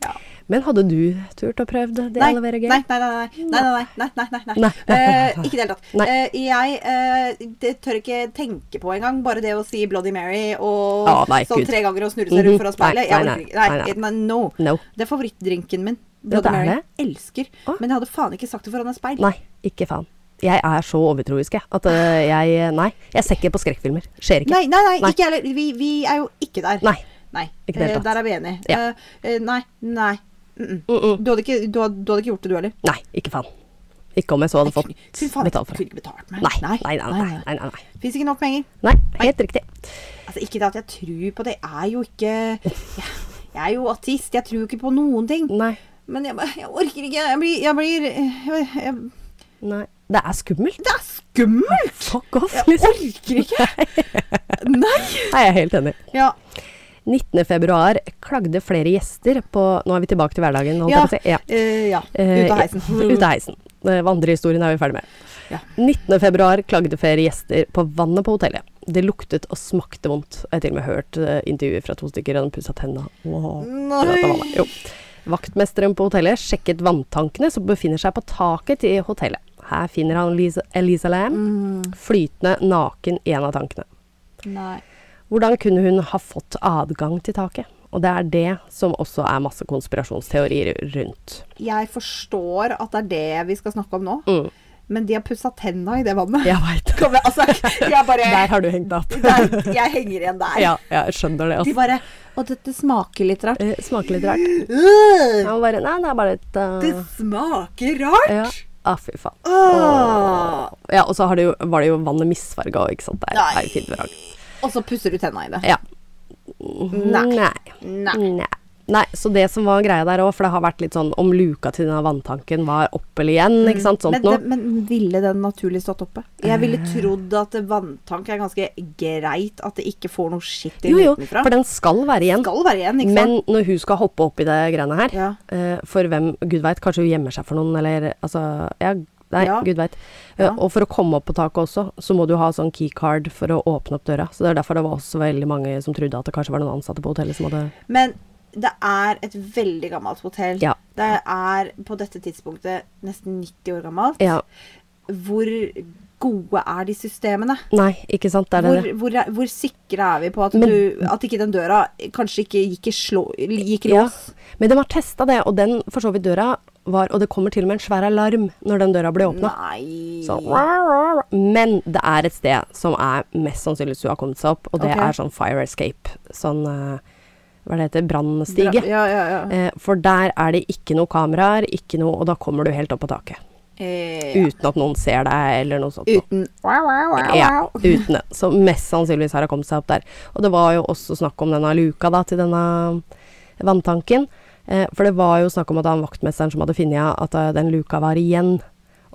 B: Ja.
A: Men hadde du turt å prøve det? det
B: Nei, nei,
A: elevere
B: nei,
A: gøy?
B: nei, nei, nei, nei, nei, nei, nei, nei.
A: Nei.
B: Eh, ikke i det hele tatt.
A: Nei.
B: Eh, jeg eh, det tør ikke tenke på engang, bare det å si Bloody Mary og
A: Ja, nei,
B: sånn
A: Gud.
B: tre ganger og snurre seg rundt foran
A: Mhm. Nei,
B: speilet. Jeg
A: nei,
B: orker ikke.
A: nei,
B: Nei,
A: nei,
B: nei, no.
A: No.
B: Det er favorittdrinken min.
A: Ja, det
B: Bloody
A: er
B: Mary.
A: det.
B: Elsker.
A: Å.
B: Men jeg hadde faen ikke sagt det foran et speil.
A: Nei, ikke faen. Jeg er så overtroisk, jeg. At eh, jeg Nei, jeg ser ikke på skrekkfilmer. Skjer ikke.
B: Nei, nei, nei,
A: Nei.
B: ikke heller. Vi, vi er jo ikke der.
A: Nei. Ikke i det hele
B: Eh,
A: tatt.
B: Der er vi enige.
A: Ja.
B: Eh, eh, nei, nei. Mm -mm.
A: Mm -mm.
B: Du, hadde ikke, du, hadde, du hadde ikke gjort det, du heller?
A: Nei, ikke faen. Ikke om jeg så hadde fått
B: Fy faen, jeg
A: betalt for
B: kunne
A: det.
B: ikke betalt meg.
A: Nei, nei, nei. nei, nei, nei, nei.
B: Fins ikke nok penger.
A: nei helt riktig.
B: Altså, ikke det at jeg tror på det. Jeg er jo ikke Jeg, jeg er jo ateist. Jeg tror ikke på noen ting.
A: Nei.
B: Men jeg, bare- jeg orker ikke. Jeg blir, jeg blir jeg, jeg,
A: nei. Det er skummelt.
B: Det er skummelt!
A: Fuck off,
B: Jeg
A: liksom.
B: orker
A: <laughs>
B: ikke. Nei.
A: Nei, jeg er helt enig.
B: Ja.
A: 19. februar klagde flere gjester på Nå er vi tilbake til hverdagen. holdt
B: Ja.
A: jeg på å si. ja.
B: eh, ja.
A: Eh,
B: Ut av heisen.
A: ja, Ut av heisen. Eh, Vandrehistorien er vi ferdig med.
B: Ja.
A: 19. februar klagde flere gjester på vannet på hotellet. Det luktet og smakte vondt. Jeg har til og med hørt eh, intervjuer fra to stykker, og de pussa tenna. Wow. Eller at det var meg. Jo. Vaktmesteren på hotellet sjekket vanntankene som befinner seg på taket til hotellet. Her finner han Lisa, Elisa Lam
B: Mm,
A: flytende naken i en av tankene.
B: nei.
A: Hvordan kunne hun ha fått adgang til taket? Og det er det som også er masse konspirasjonsteorier rundt.
B: Jeg forstår at det er det vi skal snakke om nå,
A: Mm.
B: men de har pussa tenna i det vannet. <laughs>
A: Jeg veit.
B: Kom igjen, altså, jeg bare
A: Der har du hengt deg opp.
B: der, Jeg henger igjen der.
A: Ja, ja, jeg skjønner det.
B: De
A: Altså.
B: bare Og dette smaker litt rart.
A: Eh, Smaker litt rart.
B: Øh,
A: Han bare Nei, det er bare et eh,
B: det smaker rart!
A: Ja. Ah, fy faen.
B: Åh.
A: Ja, og så har det jo, var det jo vannet misfarga òg, ikke sant. Det er- er jo fint vrang.
B: Og så pusser du tenna i det.
A: Ja.
B: Nei. Nei.
A: Nei. Nei, så det som var greia der òg, for det har vært litt sånn om luka til denne vanntanken var oppe eller igjen, ikke sant, sånt
B: Mm.
A: Eh.
B: Men,
A: noe.
B: det, men ville den naturlig stått oppe? Jeg ville trodd at vanntank er ganske greit, at det ikke får noe skitt inn
A: Jo, jo,
B: utenfra.
A: for den skal være igjen.
B: skal være igjen, ikke sant?
A: Men når hun skal hoppe opp i det greiene her,
B: Ja.
A: eh, for hvem Gud veit, kanskje hun gjemmer seg for noen, eller altså Ja, nei,
B: Ja.
A: gud veit.
B: Ja.
A: Og for å komme opp på taket også, så må du ha sånn keycard for å åpne opp døra. Så det er derfor det var også veldig mange som trodde at det kanskje var noen ansatte på hotellet som hadde
B: Men det er et veldig gammelt hotell.
A: Ja.
B: Det er på dette tidspunktet nesten 90 år gammelt.
A: Ja.
B: Hvor gode er de systemene?
A: Nei, ikke sant. Det er det.
B: Hvor, hvor, er- hvor sikre er vi på at,
A: Men-
B: du, at ikke den døra kanskje ikke gikk i, slå, gikk i lås?
A: Men de har testa det, og den for så vidt døra var Og det kommer til og med en svær alarm når den døra ble åpna.
B: Nei
A: Men det er et sted som er mest sannsynlig hun har kommet seg opp, og det
B: Ok.
A: er sånn fire escape. Sånn eh, Hva er det heter? Brannstige.
B: Ja, ja, ja.
A: Eh, For der er det ikke noe kameraer, ikke noe Og da kommer du helt opp på taket.
B: Eh,
A: Uten at noen ser deg, eller noe sånt. noe.
B: Uten wow, wow, wow,
A: Ja,
B: <laughs> wow.
A: uten det. Så mest sannsynligvis har hun kommet seg opp der. Og det var jo også snakk om denne luka da, til denne vanntanken. Eh, for det var jo snakk om at han vaktmesteren som hadde funnet at eh, den luka var igjen.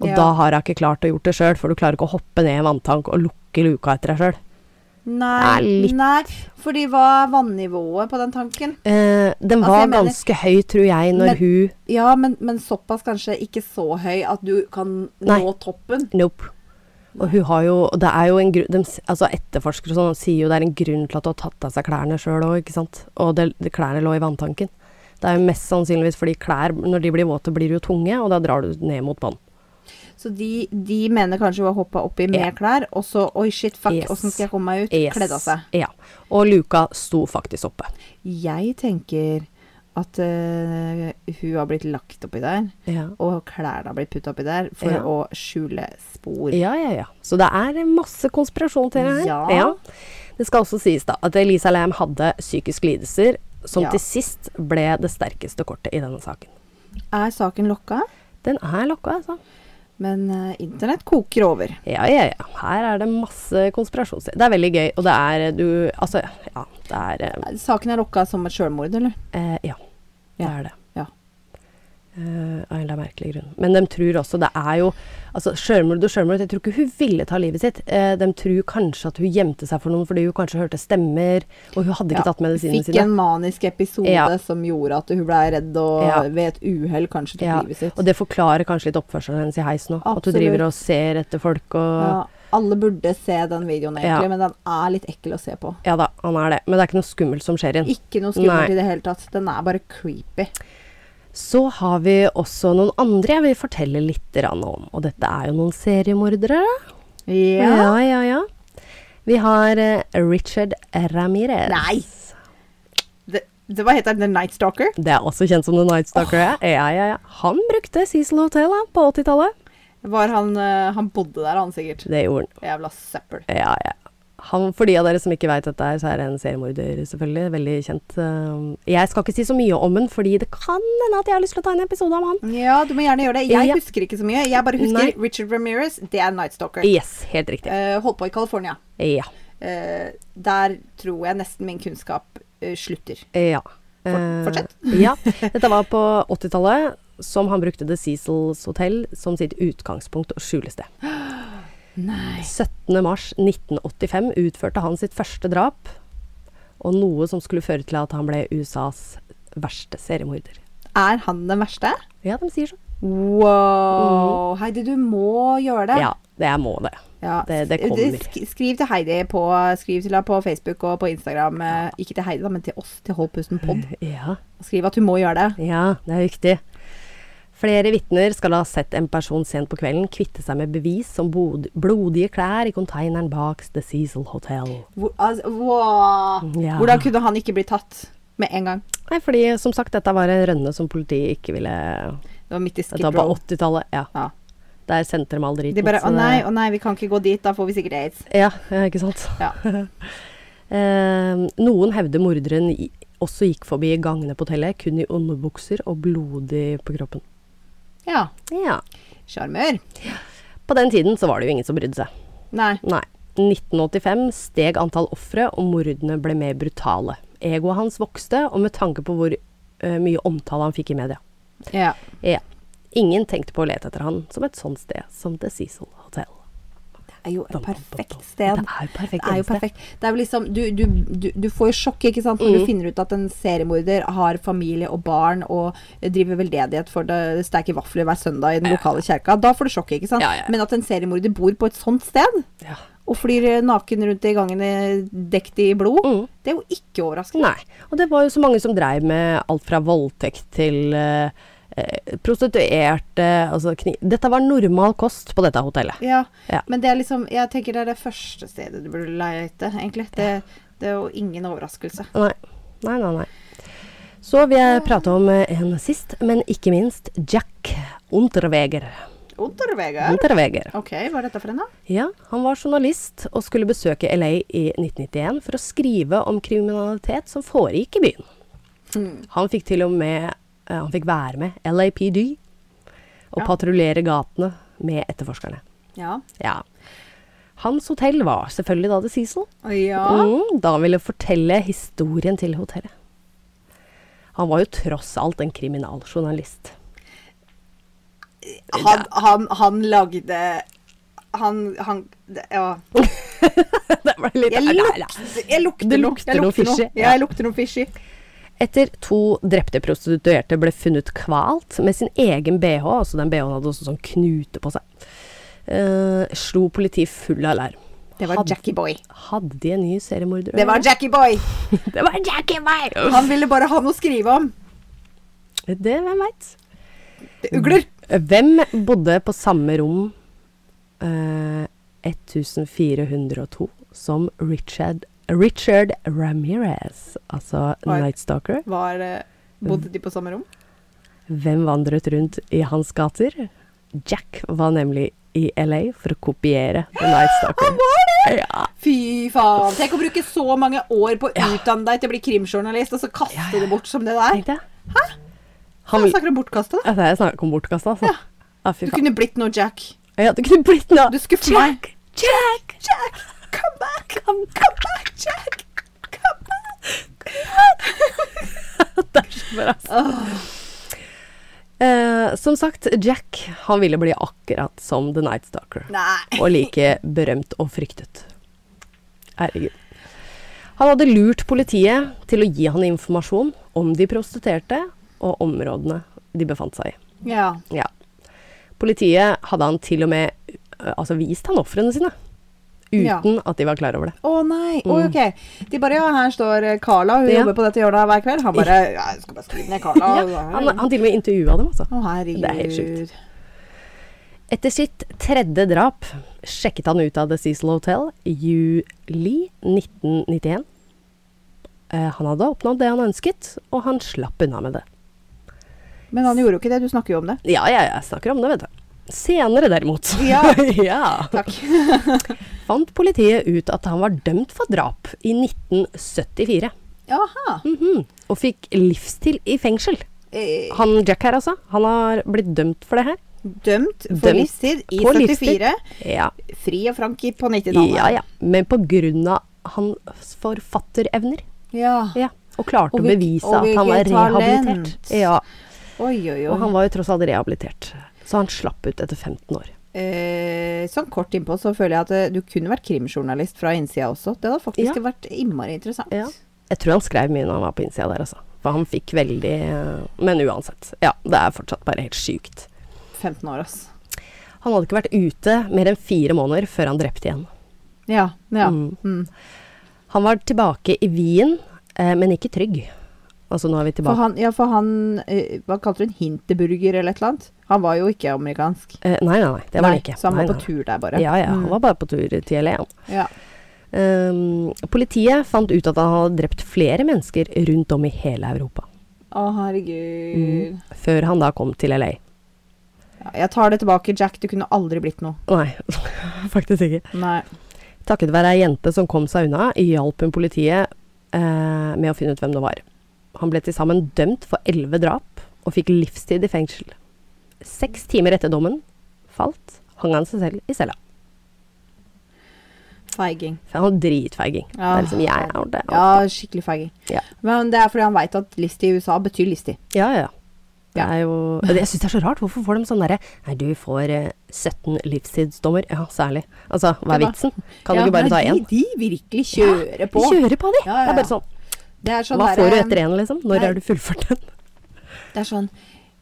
A: Og
B: Ja.
A: da har hun ikke klart å gjort det sjøl, for du klarer ikke å hoppe ned i en vanntank og lukke luka etter deg sjøl.
B: Nei,
A: Det er litt-
B: nei, fordi hva er vannivået på den tanken?
A: Eh, den
B: Altså,
A: var
B: jeg mener-
A: ganske høy, tror jeg, når
B: Men-
A: hun
B: Ja, men, men såpass kanskje ikke så høy at du kan
A: Nei.
B: nå toppen.
A: Nope. Og hun har jo og det er jo en grunn, de, s- altså Etterforskere og sånn sier jo det er en grunn til at hun har tatt av seg klærne sjøl òg, ikke sant. Og det, det klærne lå i vanntanken. Det er jo mest sannsynligvis fordi klær, når de blir våte, blir de jo tunge, og da drar du ned mot vann.
B: Så de, de mener kanskje hun har hoppa oppi med
A: Ja.
B: klær, og så oi, shit, fuck,
A: Yes.
B: åssen skal jeg komme meg ut?
A: Yes.
B: Kledd av seg.
A: Ja. Og luka sto faktisk oppe.
B: Jeg tenker at eh, hun har blitt lagt oppi der,
A: Ja.
B: og klærne har blitt putta oppi der for
A: Ja.
B: å skjule spor.
A: Ja, ja, ja. Så det er masse konspirasjon til det her.
B: Ja.
A: Det skal også sies da at Elisa Lam hadde psykiske lidelser, som
B: Ja.
A: til sist ble det sterkeste kortet i denne saken.
B: Er saken lokka?
A: Den er lokka, altså.
B: Men eh, internett koker over.
A: Ja, ja, ja. Her er det masse konspirasjonsteorier. Det er veldig gøy, og det er du Altså, ja. Det er eh,
B: Saken er lokka som et sjølmord, eller?
A: eh, Ja. Det
B: Ja.
A: er det.
B: Ja.
A: Eh, av en eller annen merkelig grunn. Men de tror også Det er jo Altså, sjølmord og sjølmord Jeg tror ikke hun ville ta livet sitt. Eh, de tror kanskje at hun gjemte seg for noen fordi hun kanskje hørte stemmer, og hun hadde ikke tatt medisinene
B: Fikk
A: sine.
B: en manisk episode
A: Ja.
B: som gjorde at hun ble redd og
A: Ja.
B: ved et uhell kanskje tok
A: Ja,
B: livet sitt.
A: og det forklarer kanskje litt oppførselen hennes i heisen nå. At hun
B: Absolutt.
A: driver og ser etter folk og
B: ja, alle burde se den videoen egentlig,
A: Ja.
B: men den er litt ekkel å se på.
A: Ja da, han er det. Men det er ikke noe skummelt som skjer i den.
B: Ikke noe skummelt
A: Nei.
B: i det hele tatt. Den er bare creepy.
A: Så har vi også noen andre jeg vil fortelle litt grann om. Og dette er jo noen seriemordere.
B: Ja.
A: ja, ja. ja. Vi har eh, Richard Ramirez.
B: Nei. Det, det var helt The Night Stalker.
A: Det er også kjent som The Night Stalker. ja. Ja, ja, ja. Han brukte Cecil Hotel da, på 80-tallet.
B: Var han, eh, han bodde der, han sikkert.
A: Det gjorde han.
B: Jævla søppel.
A: Ja, ja. Han, for de av dere som ikke veit dette, her, så er det en seriemorder, selvfølgelig. Veldig kjent. eh, Jeg skal ikke si så mye om han, fordi det kan hende at jeg har lyst til å ta en episode om han.
B: Ja, du må gjerne gjøre det. Jeg
A: Ja.
B: husker ikke så mye. Jeg bare husker
A: Nei.
B: Richard Ramirez, det er Night Stalker.
A: Yes, helt riktig.
B: Eh, holdt på i California.
A: Ja.
B: Eh, der tror jeg nesten min kunnskap eh, slutter.
A: Ja.
B: For- fortsett.
A: Eh, <laughs> ja. Dette var på 80-tallet, som han brukte The Cecils Hotel som sitt utgangspunkt og skjulested.
B: Nei.
A: 17. mars 1985 utførte han sitt første drap, og noe som skulle føre til at han ble USAs verste seriemorder.
B: Er han den verste?
A: Ja, de sier så. Mm.
B: Wow. Heidi, du må gjøre det.
A: Ja, det er må det.
B: Ja,
A: Det- det
B: sk-
A: kommer.
B: sk- Skriv til Heidi på, skriv til henne på Facebook og på Instagram. eh, Ikke til Heidi, da, men til oss, til Hold pusten pod.
A: Ja,
B: Skriv at hun må gjøre det.
A: ja, det er viktig. Flere vitner skal ha sett en person sent på kvelden kvitte seg med bevis som bod blodige klær i konteineren bak The Cecil Hotel.
B: Hvor, altså, wow.
A: Ja.
B: Hvordan kunne han ikke bli tatt med en gang?
A: Nei, fordi som sagt, dette var en rønne som politiet ikke ville
B: Det var midt i skip
A: Dette var på
B: row.
A: 80-tallet. Ja.
B: Ja.
A: Der sendte de all driten.
B: De bare
A: så
B: Å
A: det-
B: nei, å nei, vi kan ikke gå dit, da får vi sikkert aids.
A: Ja, ja, ikke sant.
B: Ja.
A: <laughs> Eh, noen hevder morderen i- også gikk forbi gangene på hotellet, kun i underbukser og blodig på kroppen.
B: ja.
A: Ja.
B: Sjarmør.
A: På den tiden så var det jo ingen som brydde seg.
B: Nei.
A: Nei. 1985 steg antall ofre, og mordene ble mer brutale. Egoet hans vokste, og med tanke på hvor eh, mye omtale han fikk i media.
B: Ja.
A: Ja. Ingen tenkte på å lete etter han som et sånt sted som The Cecil Hotel.
B: Det er jo et perfekt
A: Det
B: sted.
A: er jo perfekt.
B: Det er jo
A: eneste.
B: perfekt. Det er jo liksom, du, du, du, du får jo sjokk ikke sant, når
A: Mm.
B: du finner ut at en seriemorder har familie og barn og driver veldedighet for det steke vafler hver søndag i den lokale kjerka. Da får du sjokk. ikke sant?
A: Ja, ja, ja.
B: Men at en seriemorder bor på et sånt sted
A: Ja.
B: og flyr eh, naken rundt i gangene dekt i blod,
A: Mm.
B: det er jo ikke overraskende.
A: Nei. Og det var jo så mange som dreiv med alt fra voldtekt til eh, eh, prostituerte altså kni Dette var normal kost på dette hotellet.
B: Ja,
A: Ja.
B: Men det er liksom, jeg tenker det er det første stedet du burde lete, egentlig. Det, det er jo ingen overraskelse.
A: Nei. Nei, nei, nei. Så vil jeg prate om eh, en sist, men ikke minst Jack Unterweger. Mm.
B: Unterweger.
A: Unterweger.
B: Ok, hva er dette for en, da?
A: Ja, han var journalist og skulle besøke LA i 1991 for å skrive om kriminalitet som foregikk i byen. Han fikk til og med eh, han fikk være med LAPD og
B: Ja.
A: patruljere gatene med etterforskerne.
B: Ja.
A: Ja. Hans hotell var selvfølgelig da The Cecil.
B: ja.
A: Mm, da han ville fortelle historien til hotellet. Han var jo tross alt en kriminaljournalist. <laughs>
B: Han, han, han lagde Han, han det- Ja.
A: det ble litt
B: Jeg, lukter- jeg lukter
A: Det
B: noe.
A: lukter
B: Jeg
A: noe
B: lukter
A: fishy,
B: Ja,
A: ja.
B: jeg lukter noe fishy.
A: Etter to drepte prostituerte ble funnet kvalt med sin egen bh, altså den bh-en hadde også sånn knute på seg, eh, slo politiet full alarm.
B: Det var
A: Hadde-
B: Jackie Boy.
A: Hadde de en ny seriemorder? å
B: Det var
A: gjøre?
B: Jackie Boy!
A: det var Jackie Boy!
B: Han ville bare ha noe å skrive om.
A: Det, hvem veit?
B: Det
A: Mm.
B: ugler.
A: Hvem bodde på samme rom eh, 1402 som Richard, Richard Ramirez, altså
B: Oi.
A: Night Stalker?
B: Var, eh, bodde de på samme rom?
A: Hvem vandret rundt i hans gater? Jack var nemlig i LA for å kopiere The Night
B: <gasps>
A: Stalker.
B: Han var det!
A: Ja.
B: Fy faen. Tenk å bruke så mange år på å utdanne deg til å bli krimjournalist, og så kaste
A: Ja, ja.
B: det bort som det der.
A: Tenkte jeg. Han
B: Han
A: vil,
B: snakker om bortkastet. da.
A: altså, jeg snakker om bortkasta, altså.
B: Ja.
A: Ja. fy
B: Du
A: faen.
B: kunne blitt noe Jack.
A: Ja, du kunne blitt noe.
B: Du skuffer meg.
A: Jack! Jack!
B: Jack, come back! Come, come back, Jack! Come back!
A: <laughs> Det er så bra, altså. Eh, som sagt, Jack han ville bli akkurat som The Night Stalker.
B: Nei.
A: og like berømt og fryktet. Herregud. Han hadde lurt politiet til å gi han informasjon om de prostituerte og områdene de befant seg i.
B: Ja.
A: Ja. Politiet hadde han til og med ø, altså, vist han ofrene sine,
B: Ja.
A: uten at de var klar over det.
B: Å nei. Oi, ok. De bare ja, her står eh, Carla, hun
A: Mm. Ja.
B: jobber på dette hjørnet hver kveld. Han bare ja, jeg skal bare skrive ned Carla.
A: Ja,
B: og-
A: han, han til og med intervjua dem, altså.
B: Å herregud.
A: Det er helt sjukt. Etter sitt tredje drap sjekket han ut av The Cecil Hotel i juli 1991. Eh, han hadde oppnådd det han ønsket, og han slapp unna med det.
B: Men han gjorde jo ikke det, du snakker jo om det.
A: Ja, ja, jeg snakker om det, vet du. Senere, derimot,
B: Ja.
A: <laughs> Ja.
B: Takk.
A: <laughs> fant politiet ut at han var dømt for drap i 1974.
B: Jaha.
A: Mhm. Og fikk livstid i fengsel.
B: Eh,
A: Han Jack her, altså. Han har blitt dømt for det her.
B: Dømt for
A: Dømt
B: livstid i
A: på
B: 74.
A: livstid. Ja,
B: Fri og frank i- på 90-tallet.
A: ja, ja. Men på grunn av hans forfatterevner.
B: Ja.
A: Ja, og klarte
B: Og
A: å
B: hvilk-
A: bevise
B: og
A: at han var
B: hvilket talent.
A: rehabilitert. Ja,
B: Oi, oi, oi.
A: og han var jo tross alt rehabilitert. Så han slapp ut etter 15 år.
B: eh, sånn kort innpå så føler jeg at eh, du kunne vært krimjournalist fra innsida også. Det hadde faktisk
A: Ja.
B: vært innmari interessant.
A: Ja. Jeg tror han skrev mye når han var på innsida der, altså. For han fikk veldig eh, Men uansett. Ja, det er fortsatt bare helt sjukt.
B: 15 år, ass.
A: Han hadde ikke vært ute mer enn fire måneder før han drepte igjen.
B: Ja. ja.
A: Mm.
B: Mm.
A: Han var tilbake i Wien, eh, men ikke trygg. Altså, nå er vi
B: For
A: tilbake
B: han, ja, for han eh, Hva kalte du en hinterburger eller et eller annet? Han var jo ikke amerikansk.
A: eh, Nei, nei, nei. Det var han ikke.
B: Så han
A: nei,
B: var
A: nei.
B: på tur der, bare. Mm.
A: Ja, ja. Han var bare på tur til LA. han.
B: Ja.
A: Ehm, politiet fant ut at han hadde drept flere mennesker rundt om i hele Europa.
B: Å, herregud.
A: Før han da kom til LA.
B: Ja, jeg tar det tilbake, Jack. Du kunne aldri blitt noe.
A: Nei, <laughs> faktisk ikke.
B: Nei.
A: Takket være ei jente som kom seg unna, hjalp hun politiet eh, med å finne ut hvem det var. Han ble til sammen dømt for elleve drap og fikk livstid i fengsel. Seks timer etter dommen falt, hang han seg selv i cella.
B: Feiging.
A: For han var dritfeiging. Det
B: Ja.
A: er liksom jeg har det.
B: Ja, skikkelig feiging.
A: Ja.
B: Men det er fordi han veit at list i USA betyr listig.
A: Ja, ja. ja. Det
B: Ja.
A: er jo, det- jeg syns det er så rart. Hvorfor får de sånn derre Nei, du får eh, 17 livstidsdommer. Ja, særlig. Altså, hva er
B: Ja.
A: vitsen? Kan
B: Ja,
A: du ikke bare
B: nei,
A: ta én?
B: De, de virkelig kjører på.
A: Kjøre på de!
B: Ja,
A: Det
B: ja,
A: er
B: ja.
A: bare sånn.
B: Det er sånn
A: Hva får du
B: derre-
A: etter én, liksom? Når
B: nei.
A: er du fullført den?
B: Det er sånn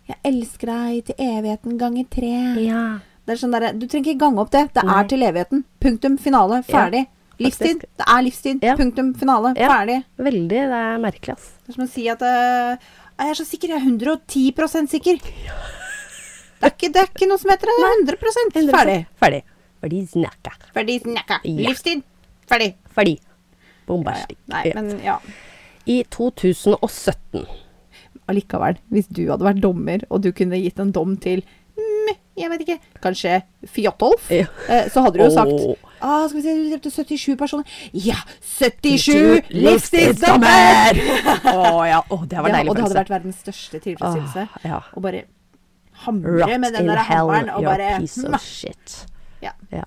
B: Jeg elsker deg til evigheten ganger tre.
A: <laughs> Ja.
B: Det er sånn derre Du trenger ikke gange opp det. Det
A: Nei.
B: er til evigheten. Punktum. Finale. Ferdig. livstid. Det er livstid.
A: Ja.
B: Punktum. Finale.
A: Ja.
B: Ferdig.
A: Veldig. Det er merkelig, ass.
B: Det er som å si at eh, Jeg er så sikker. Jeg er
A: <laughs>
B: 110 sikker. Det er, ikke, det er ikke noe som heter det. det. er 100 Ferdig.
A: Ferdig. Fordi snakka.
B: Ferdig snakka.
A: Ja.
B: Livstid. Ferdig.
A: Fordi.
B: Ja, ja.
A: Bombastisk.
B: Nei,
A: Ja.
B: men ja.
A: I 2017
B: allikevel, hvis du hadde vært dommer, og du kunne gitt en dom til mm, jeg vet ikke, kanskje Fjotolf,
A: Ja.
B: eh, så hadde du jo sagt
A: Åh.
B: ah, skal vi se, du drepte 77 personer. Ja,
A: 77
B: 77 livstidsdommer!
A: <laughs> Å ja. Å, det
B: Ja,
A: var deilig
B: og det
A: følelse.
B: hadde vært verdens største tilfredsstillelse.
A: Åh, ja.
B: Å bare hamre
A: Rot
B: med den
A: in
B: der
A: hell,
B: hammeren og
A: you're a
B: bare
A: piece
B: mm,
A: of shit.
B: Ja.
A: Ja.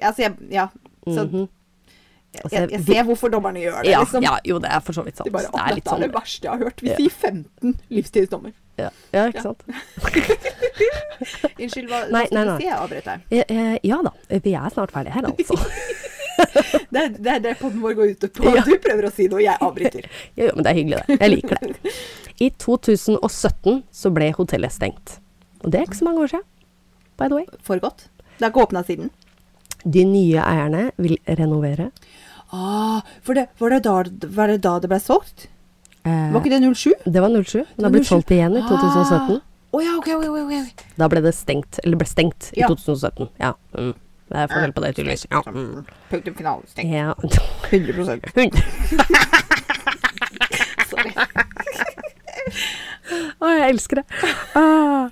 B: Altså, jeg, ja. Så,
A: Mhm. Altså,
B: jeg, jeg
A: vi-
B: ser hvorfor dommerne gjør det,
A: Ja,
B: liksom.
A: ja, jo, det er for så vidt sant.
B: De bare,
A: det
B: «Å,
A: er litt
B: dette er
A: sånn
B: det verste jeg har hørt. Vi
A: Ja.
B: sier 15 livstidsdommer.
A: ja. ja, ikke
B: Ja.
A: sant.
B: Unnskyld, hva,
A: Nei,
B: hva
A: nei,
B: skulle
A: nei.
B: du si? Jeg avbrøt deg.
A: Eh, eh, Ja da, vi er snart ferdige her, altså.
B: <laughs> Det er det, er det podden vår går ut på.
A: Ja.
B: Du prøver å si noe, jeg avbryter.
A: Jo, jo, men det er hyggelig, det. Jeg liker det. I 2017 så ble hotellet stengt. Og det er ikke så mange år siden, by the way.
B: For godt. Det er ikke åpna siden.
A: De nye eierne vil renovere.
B: Ah, for det, var, det da, var det da det ble solgt?
A: Eh,
B: Var ikke det 07?
A: Det var 07. Den har blitt solgt igjen i 2017.
B: Ah, Å ja, ok, ok, ok, ok.
A: Da ble det stengt, eller ble stengt
B: Ja. Ah.
A: i 2017. Ja. Mm. Det er forskjell på det, tydeligvis. Ja. Mm.
B: Punktum finale.
A: <laughs>
B: Stengt.
A: ja.
B: 100
A: Hund.
B: Sorry.
A: Å, jeg elsker det. Ah.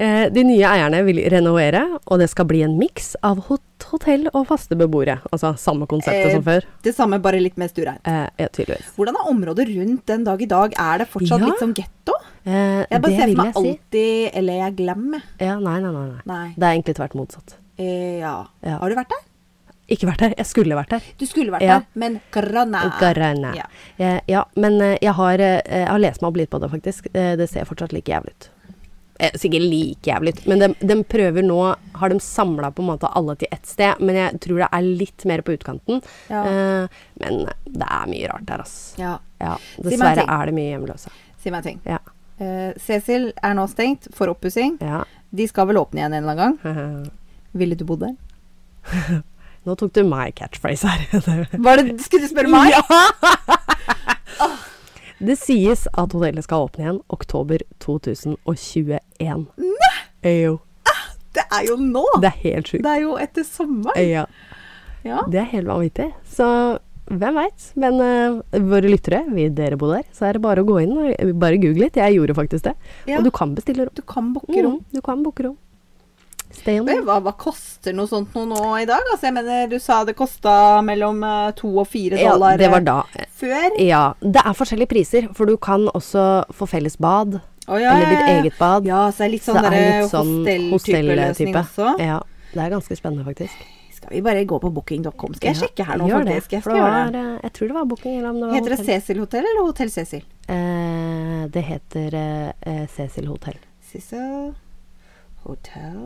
A: Eh, De nye eierne vil renovere, og det skal bli en miks av hot hotell og faste beboere. Altså samme konseptet
B: Eh,
A: som før.
B: Det samme, bare litt mer stureint.
A: Eh, ja, tydeligvis.
B: Hvordan er området rundt den dag i dag? Er det
A: Ja.
B: fortsatt litt som getto?
A: Eh,
B: Jeg bare
A: det
B: ser for
A: vil
B: meg
A: jeg si.
B: alltid Eller jeg glemmer.
A: Ja, nei, nei, nei, nei.
B: Nei.
A: Det er egentlig tvert motsatt.
B: Eh, ja.
A: Ja.
B: Har du vært der?
A: Ikke vært der. Jeg skulle vært der.
B: Du skulle vært
A: Ja.
B: der, men korona.
A: Garane.
B: Ja.
A: Eh, ja, men eh, jeg har, eh, jeg har lest meg opp litt på det, faktisk. Eh, det ser fortsatt like jævlig ut. Eh, sikkert like jævlig ut, men de, de prøver nå Har de samla på en måte alle til ett sted, men jeg tror det er litt mer på utkanten.
B: Ja.
A: Eh, men det er mye rart der, ass.
B: ja.
A: Ja,
B: Si meg en
A: dessverre
B: ting.
A: er det mye hjemløse.
B: Si meg en ting.
A: Ja.
B: Eh, Cecil er nå stengt for oppussing.
A: ja. <laughs>
B: De skal vel åpne igjen en eller annen gang. Ville du bodd der?
A: Nå tok du my catchphrase her. <laughs>
B: Var det, skulle du spørre meg? <laughs>
A: det sies at hotellet skal åpne igjen oktober 2021. Nei! Jo.
B: Det er jo nå!
A: Det er helt sjukt.
B: Det er jo etter sommeren.
A: Ja.
B: Ja.
A: Det er helt vanvittig. Så hvem veit? Men eh, våre lyttere, vi dere bor der, så er det bare å gå inn og bare google litt. Jeg gjorde faktisk det.
B: Ja.
A: Og du kan bestille rom.
B: Du kan booke rom.
A: Mm, du kan booke rom. Stay on.
B: Men Hva, hva koster noe sånt noe nå i dag? Altså, jeg mener, du sa det kosta mellom eh, to og fire
A: Ja,
B: dollar
A: det var
B: eh,
A: da.
B: før.
A: Ja. Det er forskjellige priser, for du kan også få felles bad.
B: Å, ja,
A: Eller ditt
B: ja, ja.
A: eget bad.
B: Ja, så det er litt
A: Så
B: sånn
A: det er
B: derre
A: litt sånn
B: hostell-type løsning
A: hostell-type.
B: også.
A: Ja. Det er ganske spennende, faktisk.
B: Skal vi bare gå på booking.com? Skal jeg
A: Ja,
B: sjekke her nå,
A: gjør
B: faktisk? Jeg
A: for
B: skal
A: det
B: gjøre
A: var,
B: det.
A: eh, Jeg tror det var booking. Eller om det var
B: Heter det
A: hotell.
B: Cecil hotell eller Hotell Cecil?
A: Eh, det heter eh, eh, Cecil Hotel.
B: Cecil Hotel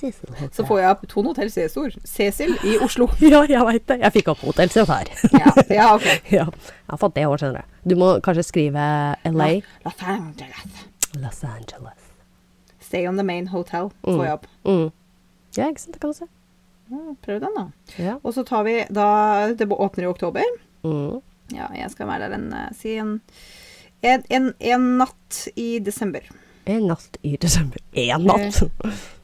A: Cecil Hotel.
B: Så får jeg Ton Hotell Cæsor, Cecil, i Oslo.
A: <laughs> Ja, jeg veit det. Jeg fikk opp hotell selv her.
B: Ja, ja ok.
A: <laughs> ja. Jeg har fått det i år, skjønner du. Du må kanskje skrive LA.
B: Los Angeles.
A: Los Angeles.
B: altså. Stay on the main hotel på
A: Mm.
B: jobb.
A: Mm. Ja, ikke sant. Det kan du se.
B: Ja, prøv den, da.
A: Ja.
B: Og så tar vi da Det åpner i oktober.
A: Mm.
B: Ja, jeg skal være der en eh, Si en, en, en, en natt i desember.
A: En natt i desember. Én natt!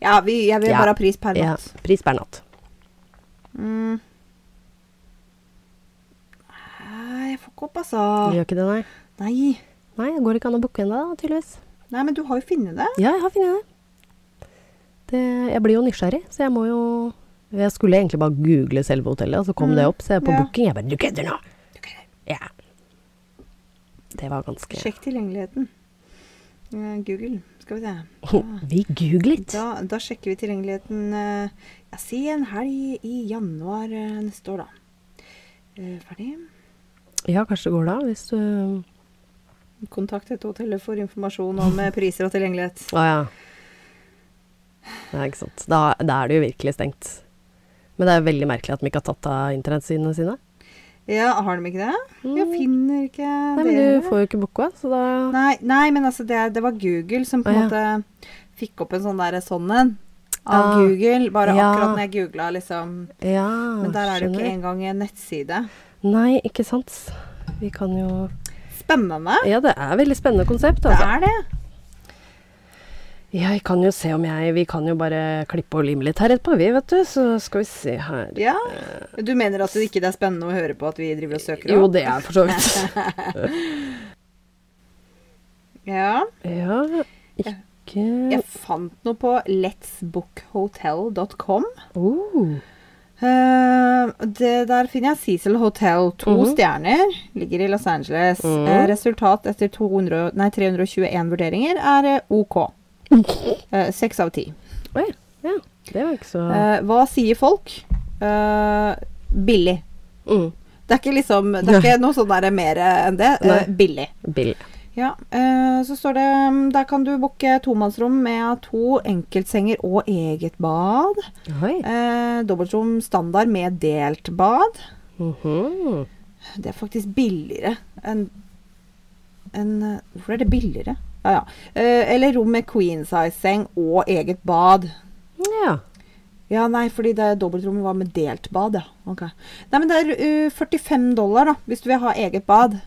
B: Ja, vi, jeg vil
A: Ja.
B: bare ha pris Eh,
A: <laughs>
B: per
A: Ja.
B: natt.
A: Pris per natt.
B: Mm. Nei, Jeg får ikke opp, altså.
A: Du gjør ikke det, nei?
B: Nei.
A: Nei, det går ikke an å booke ennå, da, tydeligvis.
B: Nei, men du har jo funnet det.
A: Ja, jeg har funnet det. det. Jeg blir jo nysgjerrig, så jeg må jo Jeg skulle egentlig bare google selve hotellet, og så kom
B: Mm,
A: det opp. Så jeg på
B: ja.
A: booking jeg bare Du kødder nå! Ja. Det var ganske
B: Sjekk tilgjengeligheten. Eh, Google, skal vi se.
A: <laughs> Vi googlet!
B: Da, da sjekker vi tilgjengeligheten eh, ja, Si en helg i januar eh, neste år, da. Eh, Ferdig.
A: Ja, kanskje det går da, hvis du
B: Kontakt dette hotellet for informasjon om eh, priser og tilgjengelighet.
A: Å ja. Nei, ikke sant. Da, da er det jo virkelig stengt. Men det er veldig merkelig at de ikke har tatt av internettsidene sine.
B: Ja, har de ikke det? Jeg finner ikke
A: Nei, men
B: dere.
A: du får jo ikke booka, så da
B: Nei, nei, men altså, det, det var Google som på
A: Å,
B: en måte fikk opp en sånn derre sånn en av
A: Ah,
B: Google. Bare
A: ja.
B: akkurat når jeg googla, liksom.
A: Ja,
B: Men der er det jo ikke
A: skjønner.
B: engang en nettside.
A: Nei, ikke sant. Vi kan jo
B: Spennende.
A: Ja, det er veldig spennende konsept,
B: Det
A: altså.
B: er det.
A: Jeg kan jo se om jeg Vi kan jo bare klippe og lime litt her etterpå, vi, vet du. Så skal vi se her
B: Ja. Du mener at det ikke er spennende å høre på at vi driver og søker
A: Jo,
B: opp?
A: det er for så
B: <laughs>
A: vidt.
B: Ja.
A: Ja, ikke
B: Jeg fant noe på letsbookhotel.com.
A: oh.
B: Eh, det der finner jeg Cecil Hotel. To
A: Mhm.
B: stjerner. Ligger i Los Angeles.
A: Mhm.
B: Eh, resultat etter 200, nei, 321 vurderinger er eh, OK. Eh, Seks av ti.
A: Oi. Ja. Det var ikke så
B: Eh, hva sier folk? Eh, billig.
A: mm.
B: Det er ikke liksom Det er ikke noe sånn der mer eh, enn det. Eh,
A: Nei.
B: billig.
A: billig.
B: Ja, eh, så står det mm, Der kan du booke tomannsrom med to enkeltsenger og eget bad.
A: Oi.
B: Eh, Dobbeltrom standard med delt bad.
A: Mhm.
B: Det er faktisk billigere enn enn, eh, Hvorfor er det billigere? Ja, ja. Eh, eller rom med queen size-seng og eget bad.
A: Ja.
B: Ja, nei, fordi det dobbeltrommet var med delt bad, ja. Ok. Nei, men det er eh, 45 dollar, da, hvis du vil ha eget bad.